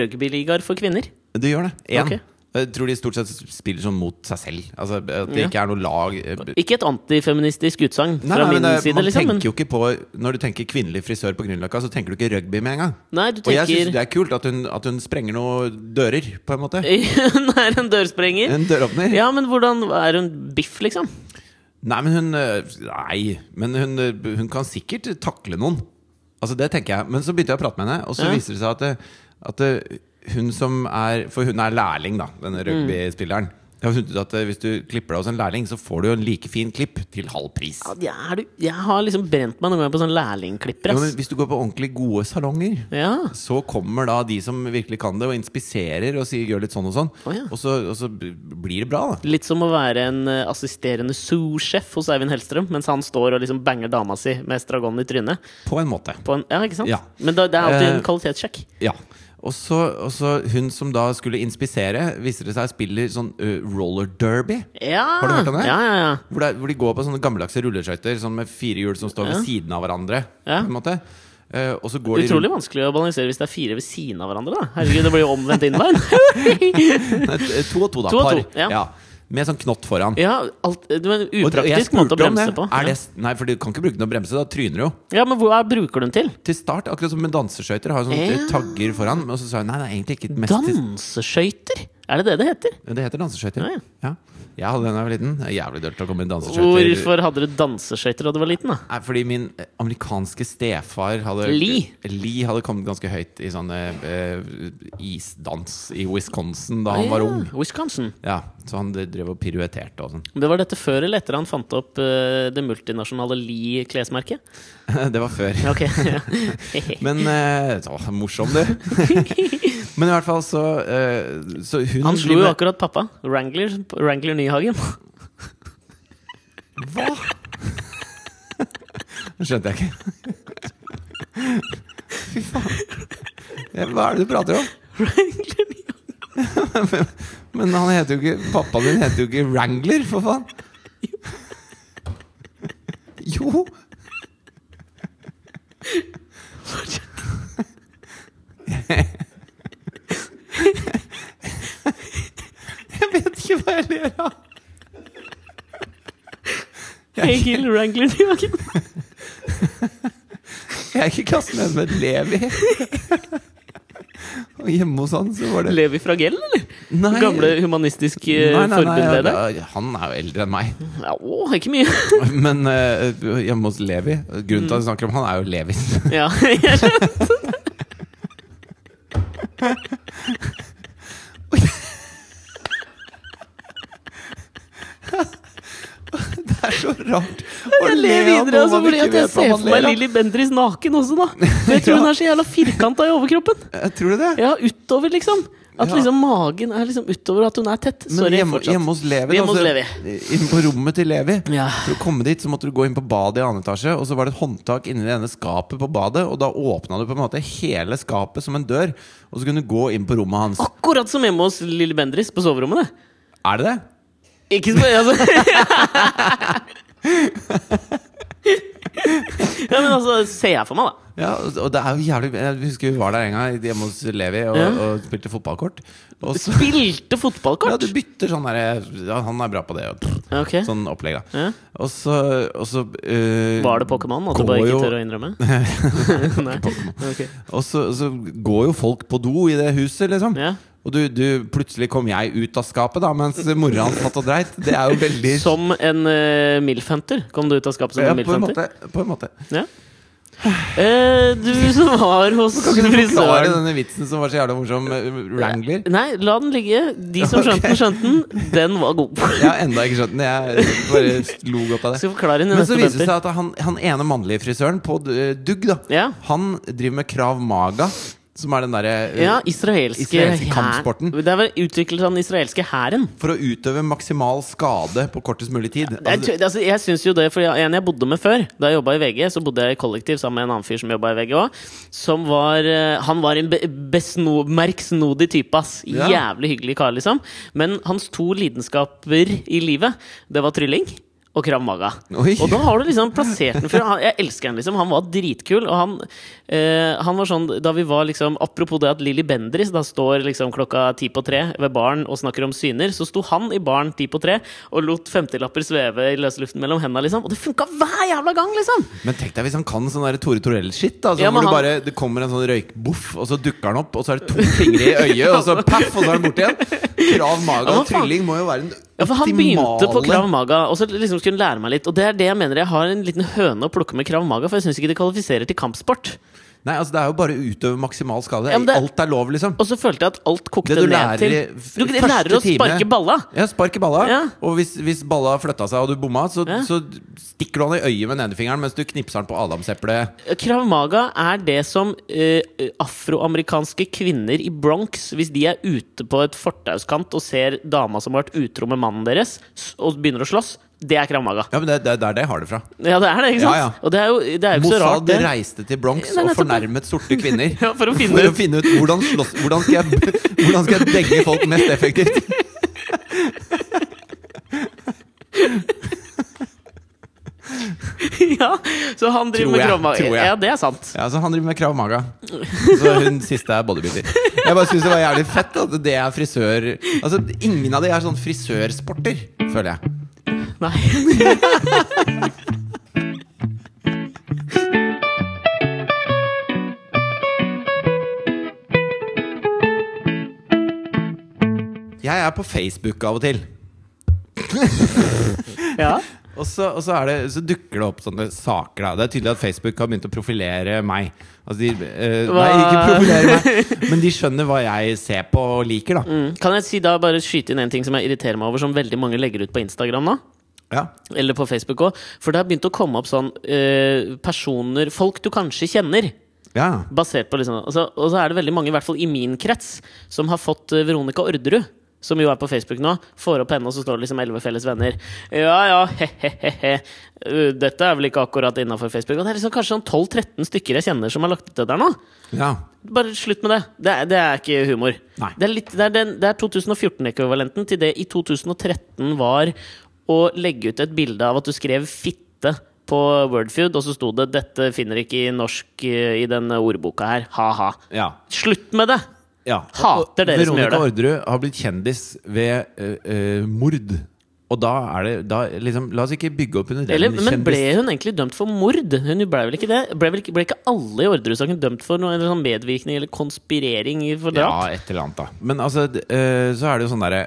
rugbyligaer for kvinner? Det gjør det. Én. Ok. Jeg tror de stort sett spiller sånn mot seg selv. Altså, at det Ja. ikke er noe lag eh, b- Ikke et antifeministisk utsagn Nei, fra nei, men min det, side, man liksom. Men, tenker jo ikke på Når du tenker kvinnelig frisør på Grünerløkka, så tenker du ikke rugby med en gang. nei, du Og jeg syns tenker det er kult at hun, at hun sprenger noen dører, på en måte. Hun er en dørsprenger. En døråpner. Ja, men hvordan er hun biff, liksom? Nei, men hun eh, Nei, men hun, eh, hun kan sikkert takle noen. Altså, det tenker jeg. Men så begynte jeg å prate med henne, og så Ja. viser det seg at, eh, at eh, hun som er For hun er lærling, da, Mm. denne rugbyspilleren. Jeg har funnet ut at eh, Hvis du klipper deg hos en lærling, så får du jo en like fin klipp til halv pris. Ja, det er du. Jeg har liksom brent meg noen ganger på sånn lærlingklipper, Ja, men ass. hvis du går på ordentlig gode salonger, Ja. så kommer da de som virkelig kan det, og inspiserer og sier 'gjør litt sånn og sånn'. Å, ja. og, så, og så b- blir det bra, da. Litt som å være en eh, assisterende sous-sjef hos Eivind Hellstrøm, mens han står og liksom banger dama si med estragon i trynet. På en måte. På en, ja, ikke sant? Ja. Men da, det er alltid en Eh, kvalitetssjekk. Ja. Og så, og så hun som da skulle inspisere, viser det seg spiller sånn ø, roller derby. Ja. Har du hørt om det? Ja, ja, ja. Hvor, det, er- hvor de går på sånne gammeldagse rulleskøyter sånn med fire hjul som står ved siden av hverandre. Ja. På en måte. Eh, og så går de Utrolig rundt- vanskelig å balansere hvis det er fire ved siden av hverandre. da Herregud, det blir jo omvendt innveien. Nei, t- to og to, da. To og par. to, ja. Med sånn knott foran. ja, alt, det var en Og det- og jeg upraktisk måte å spurte om bremse det. på. Er det, s- nei, for du kan ikke bruke den å bremse, da tryner du jo. Ja, Men hva bruker du den til? Til start, akkurat som med danseskøyter, har sånne Ja. tagger foran. Og så sa hun nei, det er egentlig ikke mest til Danseskøyter? Er det det det heter? Det heter danseskøyter. Ja, ja. Ja. Jeg hadde den da jeg var liten. Det er Jævlig dølt å komme i danseskøyter. Hvorfor hadde du danseskøyter da du var liten? da? Nei, fordi min eh, amerikanske stefar hadde Lee? Lee hadde kommet ganske høyt i sånn eh, isdans i Wisconsin da han Ja, var ung. Wisconsin. Ja, Så han drev og piruetterte og sånn. Det var dette før eller etter han fant opp eh, det multinasjonale Lie-klesmerket? Det var før. Ok, ja. Men eh, så, morsom, du. Men i hvert fall så, eh, så hun Han slo driver- jo akkurat pappa. Wrangler, Wrangler Nyhagen. Hva? Det skjønte jeg ikke. Fy faen. Ja, Hva er det du prater om? Wrangler Nyhagen. Men han heter jo ikke Pappaen din heter jo ikke Wrangler, for faen. Jo. Jeg vet ikke hva jeg ler av. Jeg er Egil Wrangler Nyhagen. ikke- jeg er ikke i klassen med med Levi. Og hjemme hos han så var det Levi Fragell, eller? Nei. Gamle humanistisk eh, Nei, nei, nei, forbundsleder? ja, Han er jo eldre enn meg. Ja, å, ikke mye. Men eh, hjemme hos Levi Grunnen til at vi snakker om han, er jo Levis. ja, jeg skjønner. Det er så rart. Jeg ler videre altså, fordi at jeg ser for meg Lilly Bendriss naken også, da. For jeg tror hun er så jævla firkanta i overkroppen. Eh, Tror du det? Ja, utover, liksom. At Ja. liksom magen er liksom utover, og at hun er tett. Men Sorry, hjemme, fortsatt. hjemme hos Levi, Hjemme da, hos så- Levi. Inne på rommet til Levi. Ja. For å komme dit så måtte du gå inn på badet i annen etasje, og så var det et håndtak inni det ene skapet på badet, og da åpna du på en måte hele skapet som en dør, og så kunne du gå inn på rommet hans. Akkurat som hjemme hos lille Bendris på soverommet. det. Er det det? Ikke så altså. Ja, men altså, ser jeg for meg, da. Ja, og og det er jo jævlig Jeg husker vi var der en gang hjemme hos Levi og, Ja. og spilte fotballkort. Og så Spilte ja, fotballkort! du bytter sånn derre ja, Han er bra på det. Og, Ok. Sånn opplegg, da. Ja. Og så, og så eh, Var det Pokémon? At du går bare ikke jo- tør å innrømme? Nei. Ok. Og så, så går jo folk på do i det huset, liksom. Ja. Og du, du, plutselig kom jeg ut av skapet, da, mens mora hans satt og dreit. Det er jo veldig Som en uh, milfhunter? Kom du ut av skapet som ja, en på en milfhunter? måte. På en måte. Ja. Eh, du som var hos Kan ikke du forklare frisøren denne vitsen som var så jævla morsom? eh, Wrangler? Nei, la den ligge. De som skjønte den, skjønte den. Den var god. Jeg har enda ikke skjønt den. Jeg bare lo godt av det. Skal forklare den i Men så neste viser bumper. det seg at han, han ene mannlige frisøren på eh, Dugg, da, Ja. han driver med krav maga, som er den derre eh, Ja, israelske, Israelske hær- kampsporten. Det er vel utviklet av den israelske hæren. For å utøve maksimal skade på kortest mulig tid. Det er tø- Altså, jeg synes jo det, for jeg- En jeg bodde med før, da jeg jobba i VG, så bodde jeg i kollektiv sammen med en annen fyr som jobba i VG òg. Som var eh, Han var en be- besno- merksnodig type, ass. Ja. Jævlig hyggelig kar, liksom. Men hans to lidenskaper i livet, det var trylling og krav maga. Oi. Og da har du liksom plassert den for han, Jeg elsker han, liksom. Han var dritkul. Og han, eh, han var sånn Da vi var liksom Apropos det at Lilly Bendris da står liksom klokka ti på tre ved baren og snakker om syner, så sto han i baren ti på tre og lot femtilapper sveve i løsluften mellom hendene, liksom. Og det funka hver jævla gang, liksom! Men tenk deg hvis han kan sånn der Tore Torell-shit. da, sånn Ja, men hvor han- det bare det kommer en sånn røykboff, og så dukker han opp, og så er det to fingre i øyet, og så paff, og så er han borte igjen. Krav maga Ja, men og trylling må jo være den optimale Ja, for Han begynte på Krav Maga, og så liksom skulle han lære meg litt. Og det er det jeg mener jeg har en liten høne å plukke med Krav Maga, for jeg syns ikke det kvalifiserer til kampsport. Nei, altså Det er jo bare å utøve maksimal skade. Ja, men det- Alt er lov, liksom. Og så følte jeg at alt kokte Det du ned lærer til i f- Du første lærer å time- sparke balla! Ja, Spark i balla. Ja. Og hvis, hvis balla flytta seg og du bomma, så, Ja. så stikker du han i øyet med nedefingeren mens du knipser han på adamseplet. Krav Maga er det som eh, afroamerikanske kvinner i Bronx, hvis de er ute på et fortauskant og ser dama som har vært utro med mannen deres, s- og begynner å slåss, det er Krav Maga. Ja, men det, det, det er det jeg har det fra. Ja, det er det, ikke sant? Ja, ja. Og det er jo, det er jo ikke så rart, Mossad det. reiste til Bronx Nei, og nettopp. fornærmet sorte kvinner. Ja, for å finne for ut. å finne ut hvordan, slåss, hvordan, skal jeg, hvordan skal jeg degge folk mest effektivt. ja, så han driver Tror med jeg, Krav Maga. tror jeg. Ja, det er sant. Ja, så Han driver med krav maga. Så hun siste er bodybuilder. Jeg bare syns det var jævlig fett at det er frisør Altså, Ingen av de er sånn frisørsporter, føler jeg. Nei. Jeg er på Facebook av og til. Ja. Og så, og så, er det, så dukker det opp sånne saker. Da. Det er tydelig at Facebook har begynt å profilere meg. Altså de, eh, nei, ikke Hva? profilere meg, men de skjønner hva jeg ser på og liker, da. Mm. Kan jeg si da bare skyte inn en ting som jeg irriterer meg over, som veldig mange legger ut på Instagram nå? Ja. Eller på Facebook òg. For det har begynt å komme opp sånn eh, personer Folk du kanskje kjenner. ja. Basert på liksom altså, Og så er det veldig mange, i hvert fall i min krets, som har fått eh, Veronica Orderud. Som jo er på Facebook nå. Får opp henne, og så står det liksom 11 felles venner. Ja ja, he-he-he. Uh, Dette er vel ikke akkurat innafor Facebook. Og det er liksom kanskje sånn 12-13 stykker jeg kjenner som har lagt ut det der nå. ja. Bare slutt med det. Det er, det er ikke humor. Nei. Det er, litt, det er, den- det er 2014-ekvivalenten til det i 2013 var å legge ut et bilde av at du skrev 'fitte' på Wordfeud, og så sto det 'dette finner ikke i norsk eh, i denne ordboka her'. Ha-ha. ja. Slutt med det! Ja. Hater dere som gjør Veronica Orderud har blitt kjendis ved eh, eh, mord. Og da er det da, liksom, La oss ikke bygge opp under den Eller, men kjendis... ble hun egentlig dømt for mord? Hun ble vel ikke det? Ble, vel ikke, ble ikke alle i Orderud-saken dømt for noe eller sånn medvirkning eller konspirering for drap? Ja, et eller annet, da. Men altså, d- eh, så er det jo sånn derre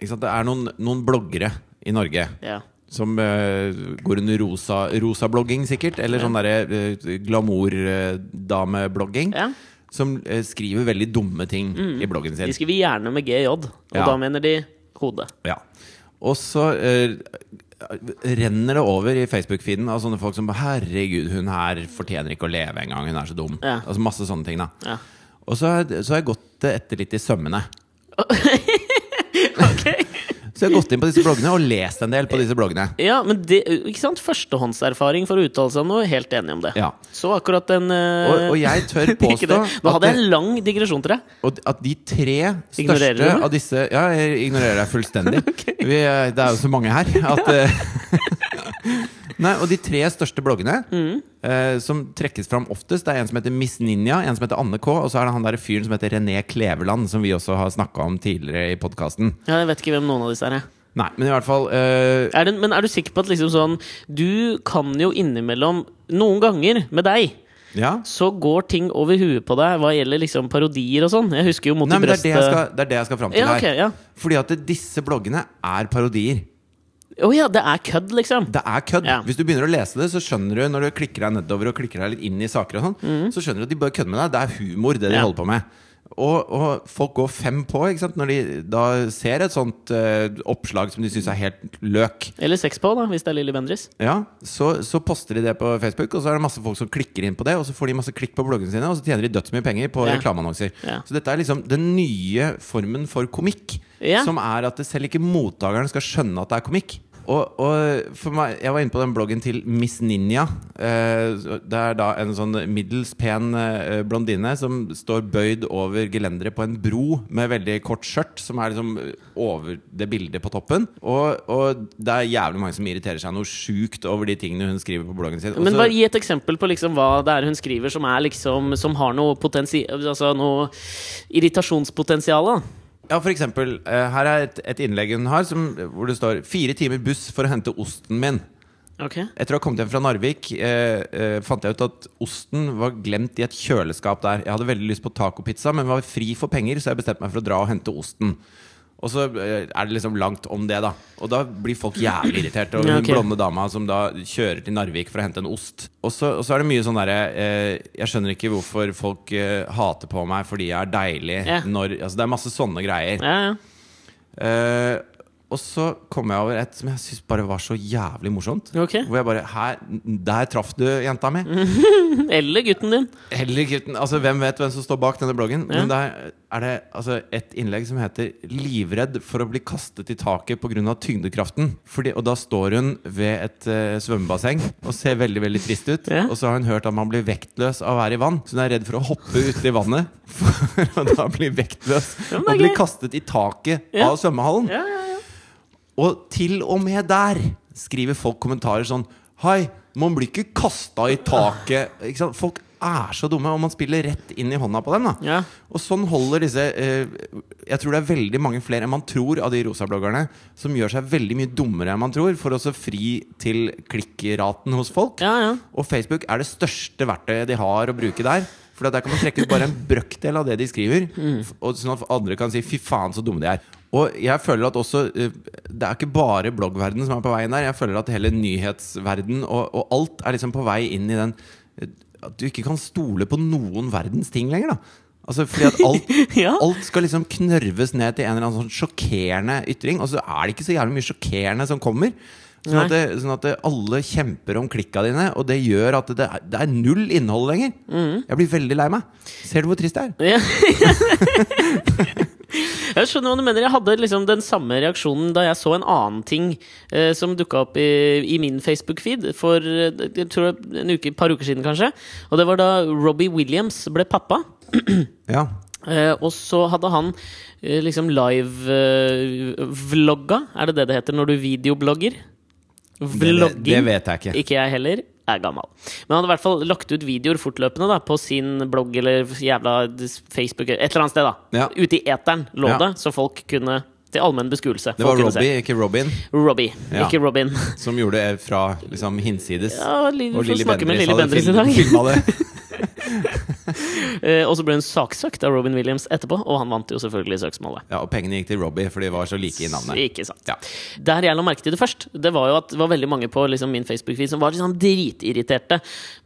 Ikke sant, det er noen, noen bloggere i Norge. Ja. Som eh, går under rosa rosablogging, sikkert. Eller sånn derre uh, glamourdameblogging. Ja. Mm. Som eh, skriver veldig dumme ting i bloggen sin. De skriver gjerne med GJ, og Ja. da mener de hodet. Ja. Og så eh, renner det over i Facebook-feeden av sånne folk som 'Herregud, hun her fortjener ikke å leve engang. Hun er så dum'. Ja. Altså Masse sånne ting. da Ja. Og så har, jeg- så har jeg gått eh, etter litt i sømmene. Så jeg har gått inn på disse bloggene og lest en del på disse bloggene. Ja, men det, ikke sant? Førstehåndserfaring for å uttale seg om noe. Helt enig om det. Ja. Så akkurat den eh, Og, og jeg tør ikke det. påstå Nå hadde jeg det- en lang digresjon til deg. Og at de tre Ignorerer du største meg? av disse Ja, jeg ignorerer deg fullstendig. Vi, eh, det er jo så mange her at eh, Nei, og de tre største bloggene Mm. eh, som trekkes fram oftest, det er en som heter Miss Ninja, en som heter Anne K, og så er det han der fyren som heter René Kleveland, som vi også har snakka om tidligere i podkasten. Ja, jeg vet ikke hvem noen av disse er. jeg. Nei, men i hvert fall eh, Er det, men er du sikker på at liksom sånn Du kan jo innimellom, noen ganger med deg, Ja. så går ting over huet på deg hva gjelder liksom parodier og sånn. Jeg husker jo Mot Nei, i men det er brøstet. det jeg skal, det er det jeg skal fram til Ja, ok, ja. her. Fordi at disse bloggene er parodier. Å ja, det er kødd, liksom. Det er kødd. Ja. Hvis du begynner å lese det, så skjønner du når du klikker deg nedover og klikker deg litt inn i saker og sånn, så skjønner du at de bare kødder med deg. Det er humor, det de Mm. Ja. holder på med. Og, og folk går fem på ikke sant? når de da ser et sånt eh, oppslag som de syns er helt løk. Eller sex på, da, hvis det er Lilly Bendriss. Ja, så, så poster de det på Facebook, og så er det masse folk som klikker inn på det. Og så får de masse klikk på bloggene sine, og så tjener de dødsmye penger på Ja. reklameannonser. Ja. Så dette er liksom den nye formen for komikk. Ja. Som er at det selv ikke mottakeren skal skjønne at det er komikk. Og, og for meg, Jeg var inne på den bloggen til Miss Ninja. Eh, det er da en sånn middels pen eh, blondine som står bøyd over gelenderet på en bro med veldig kort skjørt, som er liksom over det bildet på toppen. Og, og det er jævlig mange som irriterer seg noe sjukt over de tingene hun skriver på bloggen sin. Og Men så- bare gi et eksempel på liksom hva det er hun skriver som, er liksom, som har noe, potensi altså noe irritasjonspotensial. da. Ja, for eksempel, eh, her er et, et innlegg hun har som, hvor det står 'Fire timer buss for å hente osten min'. Ok. Etter å ha kommet hjem fra Narvik eh, eh, fant jeg ut at osten var glemt i et kjøleskap der. Jeg hadde veldig lyst på tacopizza, men var fri for penger, så jeg bestemte meg for å dra og hente osten. Og så eh, er det liksom langt om det, da. Og da blir folk jævlig irritert. Og Ja, den ok. blonde dama som da kjører til Narvik for å hente en ost. Og så, og så er det mye sånn derre eh, Jeg skjønner ikke hvorfor folk eh, hater på meg fordi jeg er deilig Ja. når Altså det er masse sånne greier. Ja, ja. Eh, og så kom jeg over et som jeg syns bare var så jævlig morsomt. Ok. Mm. Hvor jeg bare her, Der traff du jenta mi! Eller gutten din. Eller gutten. Altså, hvem vet hvem som står bak denne bloggen? Ja. Men der er det altså, et innlegg som heter 'Livredd for å bli kastet i taket pga. tyngdekraften'. Fordi, og da står hun ved et eh, svømmebasseng og ser veldig veldig trist ut. Ja. Og så har hun hørt at man blir vektløs av å være i vann, så hun er redd for å hoppe uti vannet. For å da bli vektløs Ja, men det er og bli gøy. kastet i taket Ja. av svømmehallen. Ja, ja, ja. Og til og med der skriver folk kommentarer sånn Hei, man blir ikke kasta i taket. Ikke sant? Folk er så dumme, og man spiller rett inn i hånda på dem. da Ja. Og sånn holder disse eh, Jeg tror det er veldig mange flere enn man tror av de rosabloggerne som gjør seg veldig mye dummere enn man tror, for å så fri til klikkraten hos folk. ja, ja. Og Facebook er det største verktøyet de har å bruke der. For der kan man trekke ut bare en brøkdel av det de skriver. f- Og sånn at andre kan si 'fy faen, så dumme de er'. Og jeg føler at også eh, Det er ikke bare bloggverdenen som er på veien der. Jeg føler at hele nyhetsverdenen og, og alt er liksom på vei inn i den eh, At du ikke kan stole på noen verdens ting lenger, da. Altså fordi at alt, Ja. alt skal liksom knørves ned til en eller annen sånn sjokkerende ytring. Og så er det ikke så jævlig mye sjokkerende som kommer. Sånn at, det, sånn at det, alle kjemper om klikka dine, og det gjør at det er, det er null innhold lenger. Mm. Jeg blir veldig lei meg. Ser du hvor trist det er? Ja. Jeg skjønner hva du mener. Jeg hadde liksom den samme reaksjonen da jeg så en annen ting eh, som dukka opp i, i min Facebook-feed for eh, jeg tror det var en uke, et par uker siden, kanskje. Og det var da Robbie Williams ble pappa. Ja. Eh, og så hadde han eh, liksom live-vlogga. er det det det heter når du videoblogger? Det, det, Vlogging. det vet jeg ikke. Ikke jeg heller. Er gammel. Men han hadde i hvert fall lagt ut videoer fortløpende da, på sin blogg eller jævla Facebook Et eller annet sted, da. Ja. Ute i eteren lå Ja. det, så folk kunne Til allmenn beskuelse. Det Folk var kunne se. Robbie, ikke Robin, Robbie, Ja. ikke Robin. som gjorde det fra liksom hinsides. Ja, Lilly- Og vi får Lilly snakke med Bendriss Lilly hadde Bendriss i film- dag. filma det. Eh, og så ble hun saksøkt av Robin Williams etterpå, og han vant jo selvfølgelig søksmålet. Ja, og pengene gikk til Robbie, for de var så like i navnet. Ikke sant. Ja. Der jeg la merke til det først, det var jo at det var veldig mange på liksom, min Facebook-feed som var liksom dritirriterte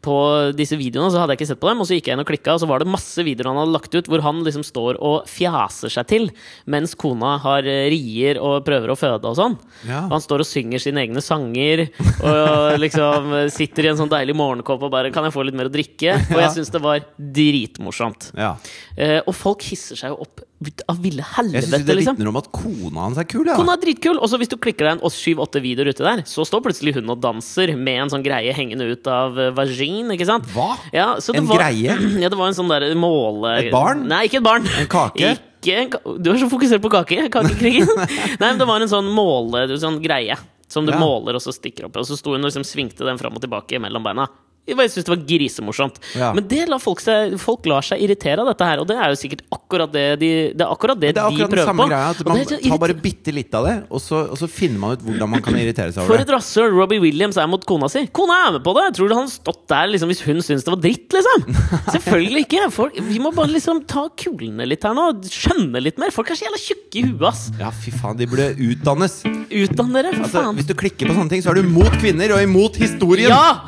på disse videoene. Så hadde jeg ikke sett på dem, og så gikk jeg inn og klikka, og så var det masse videoer han hadde lagt ut hvor han liksom står og fjaser seg til mens kona har eh, rier og prøver å føde og sånn. Ja. Og han står og synger sine egne sanger, og liksom eh, sitter i en sånn deilig morgenkåpe og bare 'Kan jeg få litt mer å drikke?' Og Ja. jeg syns det var kjempemorsomt. Ja. Eh, og folk hisser seg jo opp ut av ville Jeg syns det helvete, liksom. vitner om at kona hans er kul. Ja. Hun er dritkul! Og så hvis du klikker deg en syv-åtte videoer ute der, så står plutselig hun og danser med en sånn greie hengende ut av eh, vagin, ikke sant? Hva? Ja, så det En var, greie? Ja, det var en sånn der måle... Et barn? Nei, ikke et barn. En kake? Ikke en ka du er så fokusert på kake, kakekrigen. Nei, men det var en sånn måle... det var en Sånn greie som du Ja. måler og så stikker opp. Og så sto hun og liksom svingte den fram og tilbake mellom beina. Jeg bare syntes det var grisemorsomt. Ja. Men det la folk, seg, folk lar seg irritere av dette her, og det er jo sikkert akkurat det de, det er akkurat det Det er akkurat de den prøver samme på. greia. At Og man det er så tar bare irriterende. bitte litt av det, og så, og så finner man ut hvordan man kan irritere seg For over et det. rasshøl Robbie Williams er mot kona si! Kona er med på det! Tror du han stått der liksom, hvis hun syntes det var dritt, liksom? Selvfølgelig ikke! Folk, vi må bare liksom ta kulene litt her nå. Skjønne litt mer! Folk er så jævla tjukke i huet, ass! Ja, fy faen, de burde utdannes. Utdann dere, for Altså, faen! hvis du klikker på sånne ting, så er du mot kvinner og imot historien. Ja!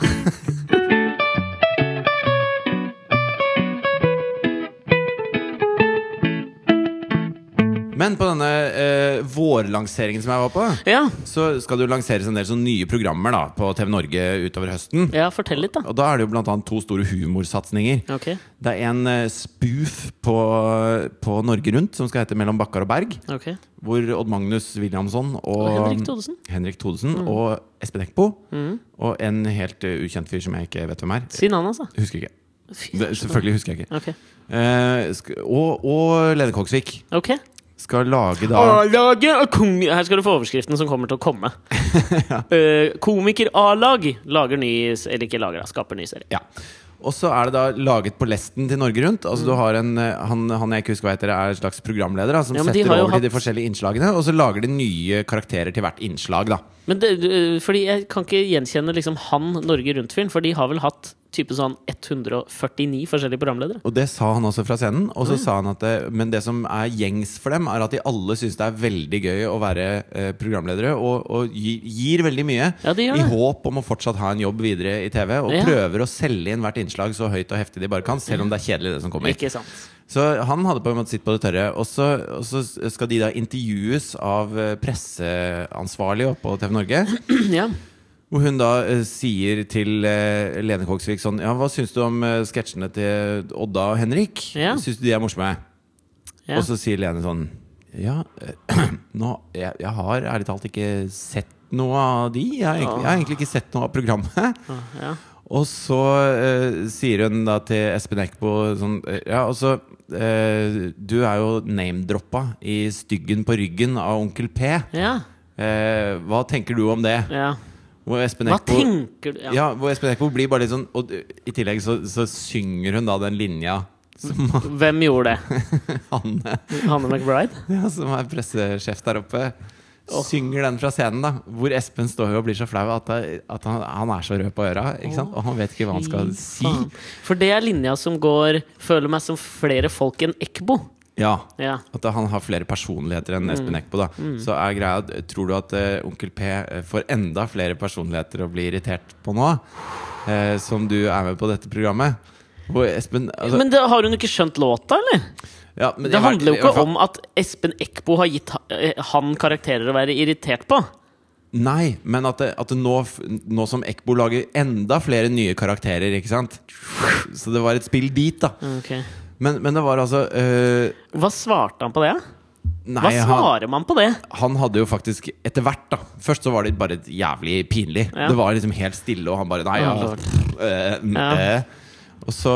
Men på denne eh, vårlanseringen som jeg var på, Ja, så skal det jo lanseres en del sånne nye programmer da, på TV Norge utover høsten. ja fortell litt, da. Og da er det jo blant annet to store humorsatsinger. Ok. Det er en eh, spoof på, på Norge Rundt som skal hete Mellom Bakkar og Berg. ok Hvor Odd Magnus Williamson og, Og Henrik Thodesen. Mm. Henrik Thodesen og Espen Eckbo. Og en helt eh, ukjent fyr som jeg ikke vet hvem er. Si navnet, altså. Husker ikke. Fy, Det, selvfølgelig husker jeg ikke. Ok. Eh, sk og, og Lene Kongsvik ok skal lage da A-laget og kong... Her skal du få overskriften som kommer til å komme. Eh, komiker A-lag lager ny Eller ikke lager, da. Skaper ny serie. Ja. Og så er det da laget på lesten til Norge Rundt. Altså Mm. du har en, eh, han, han jeg ikke husker hva heter, er en slags programleder da, som Ja, men de setter har jo over til de hatt- forskjellige innslagene. Og så lager de nye karakterer til hvert innslag. da Men det, du- fordi jeg kan ikke gjenkjenne liksom han Norge Rundt-fyren, for de har vel hatt type sånn 149 forskjellige programledere? Og det sa han også fra scenen. Og så sa han at det, Men det som er gjengs for dem, er at de alle syns det er veldig gøy å være eh, programledere, og, og gi, gir veldig mye. Ja, de gjør I det. håp om å fortsatt ha en jobb videre i TV, og Ja. prøver å selge inn hvert innslag så høyt og heftig de bare kan, selv om det er kjedelig, det som kommer. Ikke sant? Så han hadde på en måte sitt på det tørre. Og så, og så skal de da intervjues av eh, presseansvarlige oppe på TV Norge. ja. Hvor hun da eh, sier til eh, Lene Kogsvik sånn Ja, hva syns du om eh, sketsjene til Odda og Henrik? Ja. Syns du de er morsomme? Ja. Og så sier Lene sånn Ja, eh, nå, jeg, jeg har ærlig talt ikke sett noe av de. Jeg har egentlig, jeg har egentlig ikke sett noe av programmet. Ah, ja. Og så eh, sier hun da til Espen Eckbo sånn eh, Ja, altså eh, Du er jo name-droppa i Styggen på ryggen av Onkel P. ja. Eh, hva tenker du om det? ja. Hvor Espen Hva Eckbo tenker du ja. ja. hvor Espen Eckbo blir bare litt sånn Og d- i tillegg så, så synger hun da den linja som Hvem gjorde det? han Hanne McBride? ja, Som er pressesjef der oppe. Synger den fra scenen, da. Hvor Espen står jo og blir så flau at, det- at han, han er så rød på øra. Ikke sant? Og han vet ikke hva han skal Fy si. faen. For det er linja som går 'føler meg som flere folk enn Ekbo'. Ja. Ja. At han har flere personligheter Mm. enn Espen Eckbo. da Så er greia at, Tror du at eh, Onkel P eh, får enda flere personligheter å bli irritert på nå? Eh, som du er med på dette programmet? Hvor Espen altså, Men det, har hun ikke skjønt låta, eller? ja, men Det jeg har- handler jo i hvert ikke fall- om at Espen Eckbo har gitt ha- eh, han karakterer å være irritert på. Nei, men at, det, at det nå, f- nå som Eckbo lager enda flere nye karakterer, ikke sant? Så det var et spill dit, da. Ok. Men, men det var altså eh, Hva svarte han på det? Nei, Hva han, svarer man på det? han hadde jo faktisk etter hvert, da Først så var det bare jævlig pinlig. Ja. Det var liksom helt stille, og han bare Nei, ja, Åh, eh, mm, Ja. eh. Og så,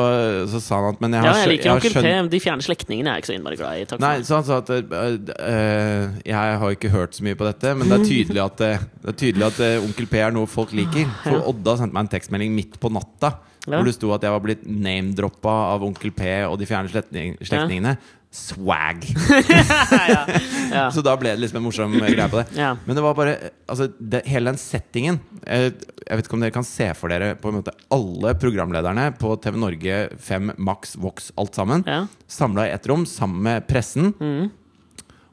så sa han at Men jeg Ja, har, skjø- jeg liker har Onkel P. skjønt- De fjerne slektningene er jeg ikke så innmari glad i. Takk for Nei, meg. så han sa at eh, eh, Jeg har ikke hørt så mye på dette, men det er tydelig at, eh, det er tydelig at eh, Onkel P er noe folk liker. For Odda sendte meg en tekstmelding midt på natta Ja. hvor det sto at jeg var blitt name-droppa av Onkel P og de fjerne slektning, slektningene. Swag! ja, ja. Så da ble det liksom en morsom greie på det. Ja. Men det var bare eh, altså, det, hele den settingen eh, Jeg vet ikke om dere kan se for dere på en måte alle programlederne på TV Norge, 5, Max, Vox, alt sammen. Ja. Samla i ett rom sammen med pressen. Mm.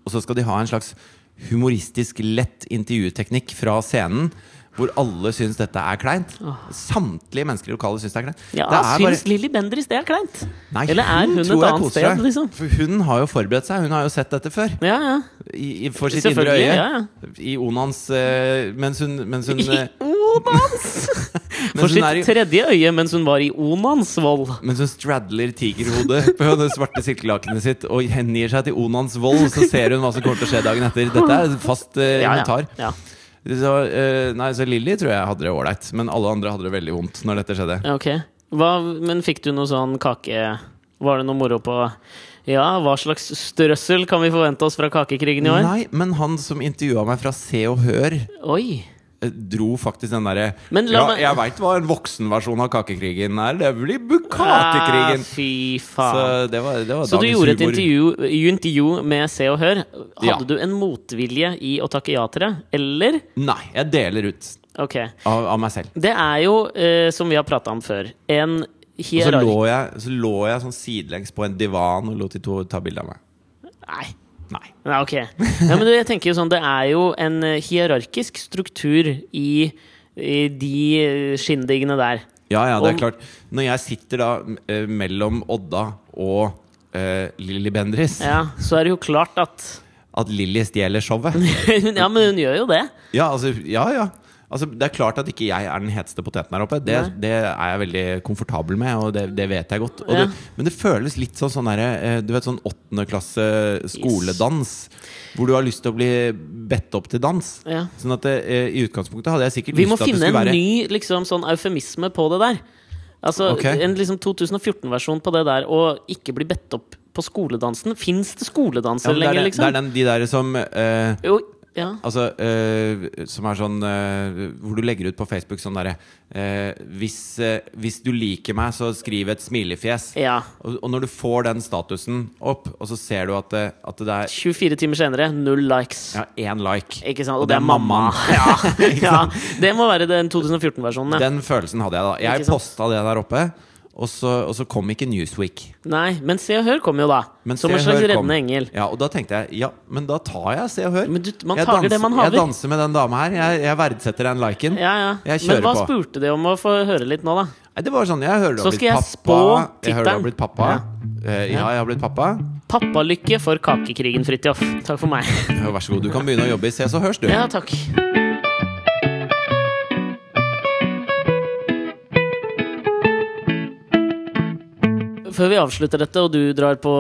Og så skal de ha en slags humoristisk lett intervjuteknikk fra scenen. Hvor alle syns dette er kleint. Samtlige mennesker i lokalet syns det er kleint. ja det er syns Lilly Bendriss det er kleint? Nei, Eller er hun et tror jeg annet koser sted, seg. liksom? For hun har jo forberedt seg. Hun har jo sett dette før. Ja, ja. I, i, for sitt indre Selvfølgelig. øye. Ja, ja. eh, I Onans eh, Mens hun, mens hun eh, Onans! for hun er i- sitt tredje øye mens hun var i Onans vold. Mens hun stradler tigerhodet på det svarte silkelakenet sitt og hengir seg til Onans vold, så ser hun hva som kommer til å skje dagen etter. Dette er fast eh, Ja, ja. inventar. Ja. Så, eh, nei, så Lilly tror jeg hadde det ålreit, men alle andre hadde det veldig vondt når dette skjedde. Ja, Ok. Hva, men fikk du noe sånn kake Var det noe moro på Ja, hva slags strøssel kan vi forvente oss fra kakekrigen i år? Nei, men han som intervjua meg fra Se og Hør, Oi! eh, dro faktisk den derre Men Ja, la meg- jeg veit hva en voksenversjon av kakekrigen er, det blir Ah, Bukakekrigen! fy Så Ah, faen. det var, det var Så du dagens gjorde et humor. intervju, intervju med Se og Hør. Hadde Ja. du en motvilje i å takke ja til det? Eller? Nei, jeg deler ut Ok. av, av meg selv. Det er jo, eh, som vi har prata om før, en Og så lå, hierarki... jeg, så lå jeg sånn sidelengs på en divan og lot de to ta bilde av meg. Nei. Nei. Nei, ok. Ja, men jeg tenker jo sånn, det er jo en eh, hierarkisk struktur i, i de eh, skinndiggene der. Ja, ja, det Om- er klart. Når jeg sitter da eh, mellom Odda og eh, Lilly Bendriss, Ja, så er det jo klart at at Lilly stjeler showet Ja, men hun gjør jo det. Ja, altså, ja, ja. Altså, det er klart at ikke jeg er den heteste poteten her oppe. Det, Nei. det er jeg veldig komfortabel med, og det, det vet jeg godt. Og Ja. det, men det føles litt sånn sånn derre eh, Du vet sånn åttende klasse skoledans, hvor du har lyst til å bli bedt opp til dans. Ja. Sånn at det, eh, i utgangspunktet hadde jeg sikkert Vi må lyst til at det finne en skulle være ny liksom, sånn eufemisme på det der. Altså, Ok. En liksom 2014-versjon på det der å ikke bli bedt opp på skoledansen. Fins det Ja, skoledanser men det, er lenger, den, det liksom? er den, de der som eh, Jo, ja. Altså, eh, som er sånn eh, Hvor du legger ut på Facebook sånn derre eh, hvis, eh, 'Hvis du liker meg, så skriv et smilefjes'. ja. Og, og når du får den statusen opp, og så ser du at det, at det er 24 timer senere, null likes. ja, én like Ikke sant? Og, det er mamma. Ja, ja. Det må være den 2014-versjonen. Ja. Den følelsen hadde jeg da. Jeg Ikke sant? posta det der oppe, og så, og så kom ikke Newsweek. Nei, men Se og Hør kom jo da. Men som Se en og slags Hør kom. reddende engel. Ja, og da tenkte jeg ja, men da tar jeg Se og Hør. Men du- man jeg, tager det danser, man haver. jeg danser med den dama her. Jeg, jeg verdsetter den liken. Ja, ja. Jeg Men kjører hva på. spurte de om å få høre litt nå, da? Nei, det var sånn, jeg hører du Så har skal blitt jeg pappa spå Jeg hører du har tittelen. blitt pappa Eh, Ja, jeg har blitt pappa Pappalykke for kakekrigen, Fridtjof. Takk for meg. Ja, Vær så god, du kan begynne å jobbe i Se så hørs du Ja, takk. Før vi avslutter dette, og du drar på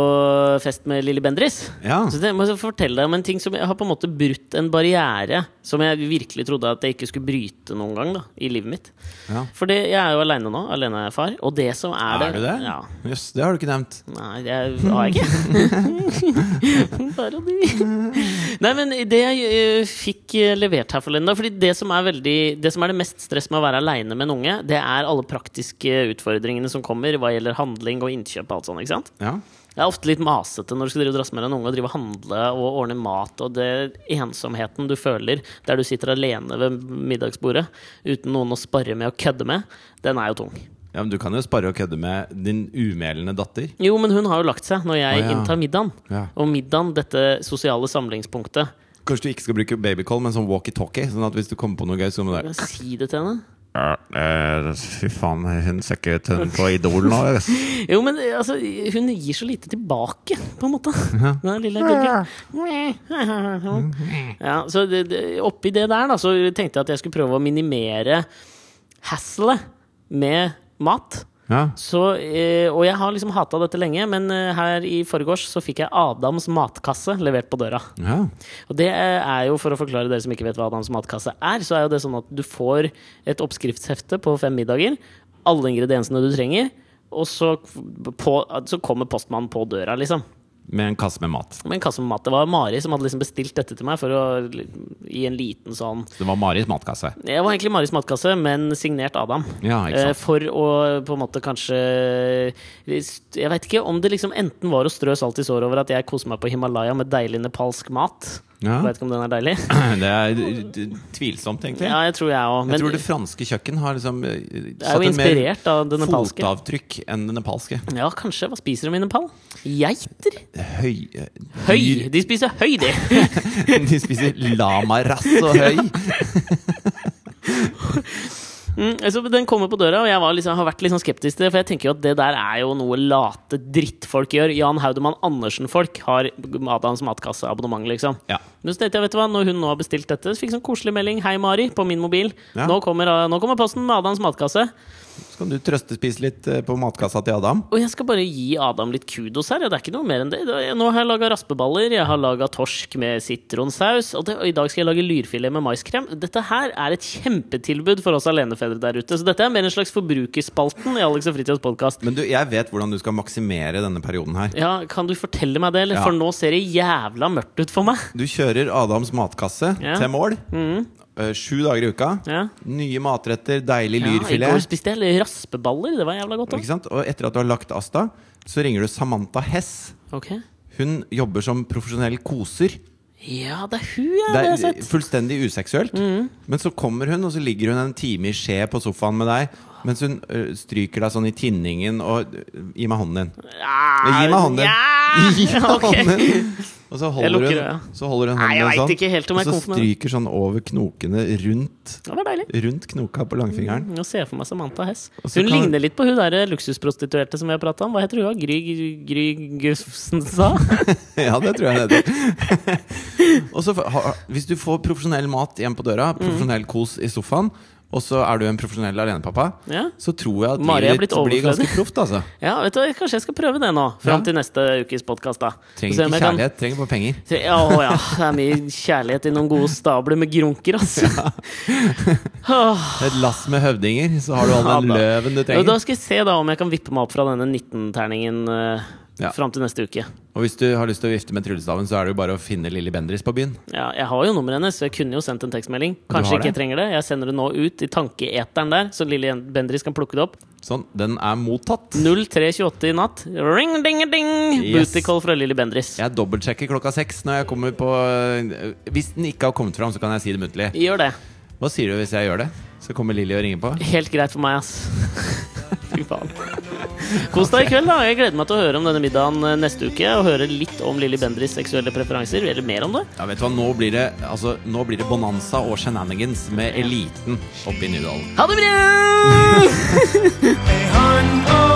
fest med Lilly Bendriss Ja. Så det, må jeg fortelle deg om en ting som jeg har på en måte brutt en barriere som jeg virkelig trodde at jeg ikke skulle bryte noen gang da, i livet mitt. Ja. For det- jeg er jo aleine nå. Alenefar. Og det som er, Er du det? Ja. Jøss, det har du ikke nevnt Nei, det er- har jeg ikke. Parodi. Nei, men det jeg eh, fikk eh, levert her forleden da, fordi det som, er veldig, det som er det mest stress med å være aleine med en unge, det er alle praktiske utfordringene som kommer hva gjelder handling og innkjøp og alt sånt. ikke sant? Ja, Det er ofte litt masete når du skal drive og drasse med deg en unge og drive og handle og ordne mat, og det ensomheten du føler der du sitter alene ved middagsbordet uten noen å sparre med og kødde med, den er jo tung. ja men du kan jo spare og kødde med din umælende datter Jo, men hun har jo lagt seg når jeg Å, ja. inntar middagen. Ja. Og middagen, dette sosiale samlingspunktet. Kanskje du ikke skal bruke babycall, men sånn walkie-talkie Sånn at hvis du kommer på noe gøy, så må du Kan jeg Si det til henne. ja, eh, Fy faen, hun ser ikke ut hun på idol nå Jo, men eh, altså, hun gir så lite tilbake, på en måte. Den lille gurka. Ja, så det, det, oppi det der, da, så tenkte jeg at jeg skulle prøve å minimere hasslet med mat. Ja, Så, eh, og jeg har liksom hata dette lenge, men eh, her i forgårs så fikk jeg Adams matkasse levert på døra. ja Og det er jo, for å forklare dere som ikke vet hva Adams matkasse er, så er jo det sånn at du får et oppskriftshefte på fem middager, alle ingrediensene du trenger, og så, på, så kommer postmannen på døra, liksom. Med en kasse med mat Med en kasse med mat. Det var Mari som hadde liksom bestilt dette til meg for å gi en liten sånn Det var Maris matkasse Det var egentlig Maris matkasse, men signert Adam. Ja, ikke sant? Eh, For å på en måte kanskje Jeg veit ikke om det liksom enten var å strø salt i såret over at jeg koser meg på Himalaya med deilig nepalsk mat. Ja. Vet ikke om den er deilig. Det er eh, tvilsomt egentlig Ja, jeg tror jeg òg. Jeg Men tror det franske kjøkken har liksom eh, det er satt jo en mer inspirert av det nepalske. fotavtrykk enn det nepalske. Ja, kanskje. Hva spiser de i Nepal? Geiter? Høy, eh, Høy! De spiser høy, de! dyr. De spiser lamarass og høy. Mm, altså, den kommer på døra, og jeg var liksom, har vært litt sånn skeptisk til det. For jeg tenker jo at det der er jo noe late drittfolk gjør. Jan Haudemann Andersen-folk har Adams matkasseabonnement, liksom. Ja. Men så tenkte jeg, vet du hva, når hun nå har bestilt dette, så fikk jeg sånn koselig melding. Hei, Mari, på min mobil. Ja. Nå, kommer, eh, nå kommer posten med Adams matkasse. Så kan du trøstespise litt eh, på matkassa til Adam. Og jeg skal bare gi Adam litt kudos her. Ja, det er ikke noe mer enn det. Det er- Nå har jeg laga raspeballer, jeg har laga torsk med sitronsaus, og, det, og i dag skal jeg lage lyrfilet med maiskrem. Dette her er et kjempetilbud for oss alenefedre der ute. Så dette er mer en slags forbrukerspalten i Alex og Fritjofs podkast. Men du, jeg vet hvordan du skal maksimere denne perioden her. Ja, kan du fortelle meg det, eller? Ja. For nå ser det jævla mørkt ut for meg. Du kjører Adams matkasse Ja. Mm. til mål. eh, Sju dager i uka. Ja. Nye matretter, Ja, deilig I går lyrfilet. spiste jeg raspeballer. Det var jævla godt Ikke òg. sant? Og etter at du har lagt Asta, så ringer du Samantha Hess. Ok. Hun jobber som profesjonell koser. Ja, det er hun, ja. Det har jeg Det er sett. Mm. fullstendig useksuelt. Men så kommer hun, og så ligger hun en time i skje på sofaen med deg. Mens hun ø, stryker deg sånn i tinningen og ø, Gi meg hånden din. Gi meg hånden din! Gi meg Ah, Ja, ok. hånden din! Og så holder, lukker øya. hun, så holder hun Nei, jeg hånden vet din sånn. ikke helt om jeg og så kom for meg. stryker sånn over knokene rundt, Det var deilig. rundt knoka på langfingeren. Nå ser jeg for meg Samantha Hess. Og så Hun kan- ligner litt på hun der eh, luksusprostituerte som vi har prata om. Hva heter hun? Gry Gry Gussen sa? ja, det tror jeg det heter. og så, ha- hvis du får profesjonell mat hjem på Mm. døra, profesjonell kos i sofaen, og så er du en profesjonell alenepappa, Ja. så tror jeg at Mari har livet ditt blitt blir ganske overflødig. proft, altså. ja, vet du hva, kanskje jeg skal prøve det nå, fram Ja. til neste ukes podkast. Trenger ikke kjærlighet, trenger bare penger. Tre- Ja, å ja. Det er mye kjærlighet i noen gode stabler med grunker, altså. Åh. Et lass med høvdinger, så har du all den Ja, da. løven du Da trenger. skal jeg se da om jeg kan vippe meg opp fra denne 19-terningen uh, Ja. fram til neste uke. Og hvis du har lyst til å vifte med tryllestaven, så er det jo bare å finne Lilly Bendriss på byen. Ja, jeg har jo nummeret hennes, så jeg kunne jo sendt en tekstmelding. har Kanskje ikke det? jeg trenger det. Jeg sender det nå ut i tankeeteren der, så Lilly Bendriss kan plukke det opp. Sånn, den er mottatt. 03.28 i natt. Ring, ding, ding! Yes. Booty call fra Lilly Bendriss. Jeg dobbeltsjekker klokka seks når jeg kommer på eh, Hvis den ikke har kommet fram, så kan jeg si det muntlig. Gjør det. Hva sier du hvis jeg gjør det? Så kommer Lilly og ringer på. Helt greit for meg, ass. Fy faen. Kos deg i kveld, da. Jeg gleder meg til å høre om denne middagen eh, neste uke. Og høre litt om Lilly Bendriss' seksuelle preferanser. Eller mer om det. Ja, vet du hva, nå blir det, altså, nå blir det bonanza og shenanigans med eliten oppe i Nydalen. Ha det bra! Hey, hun, oh.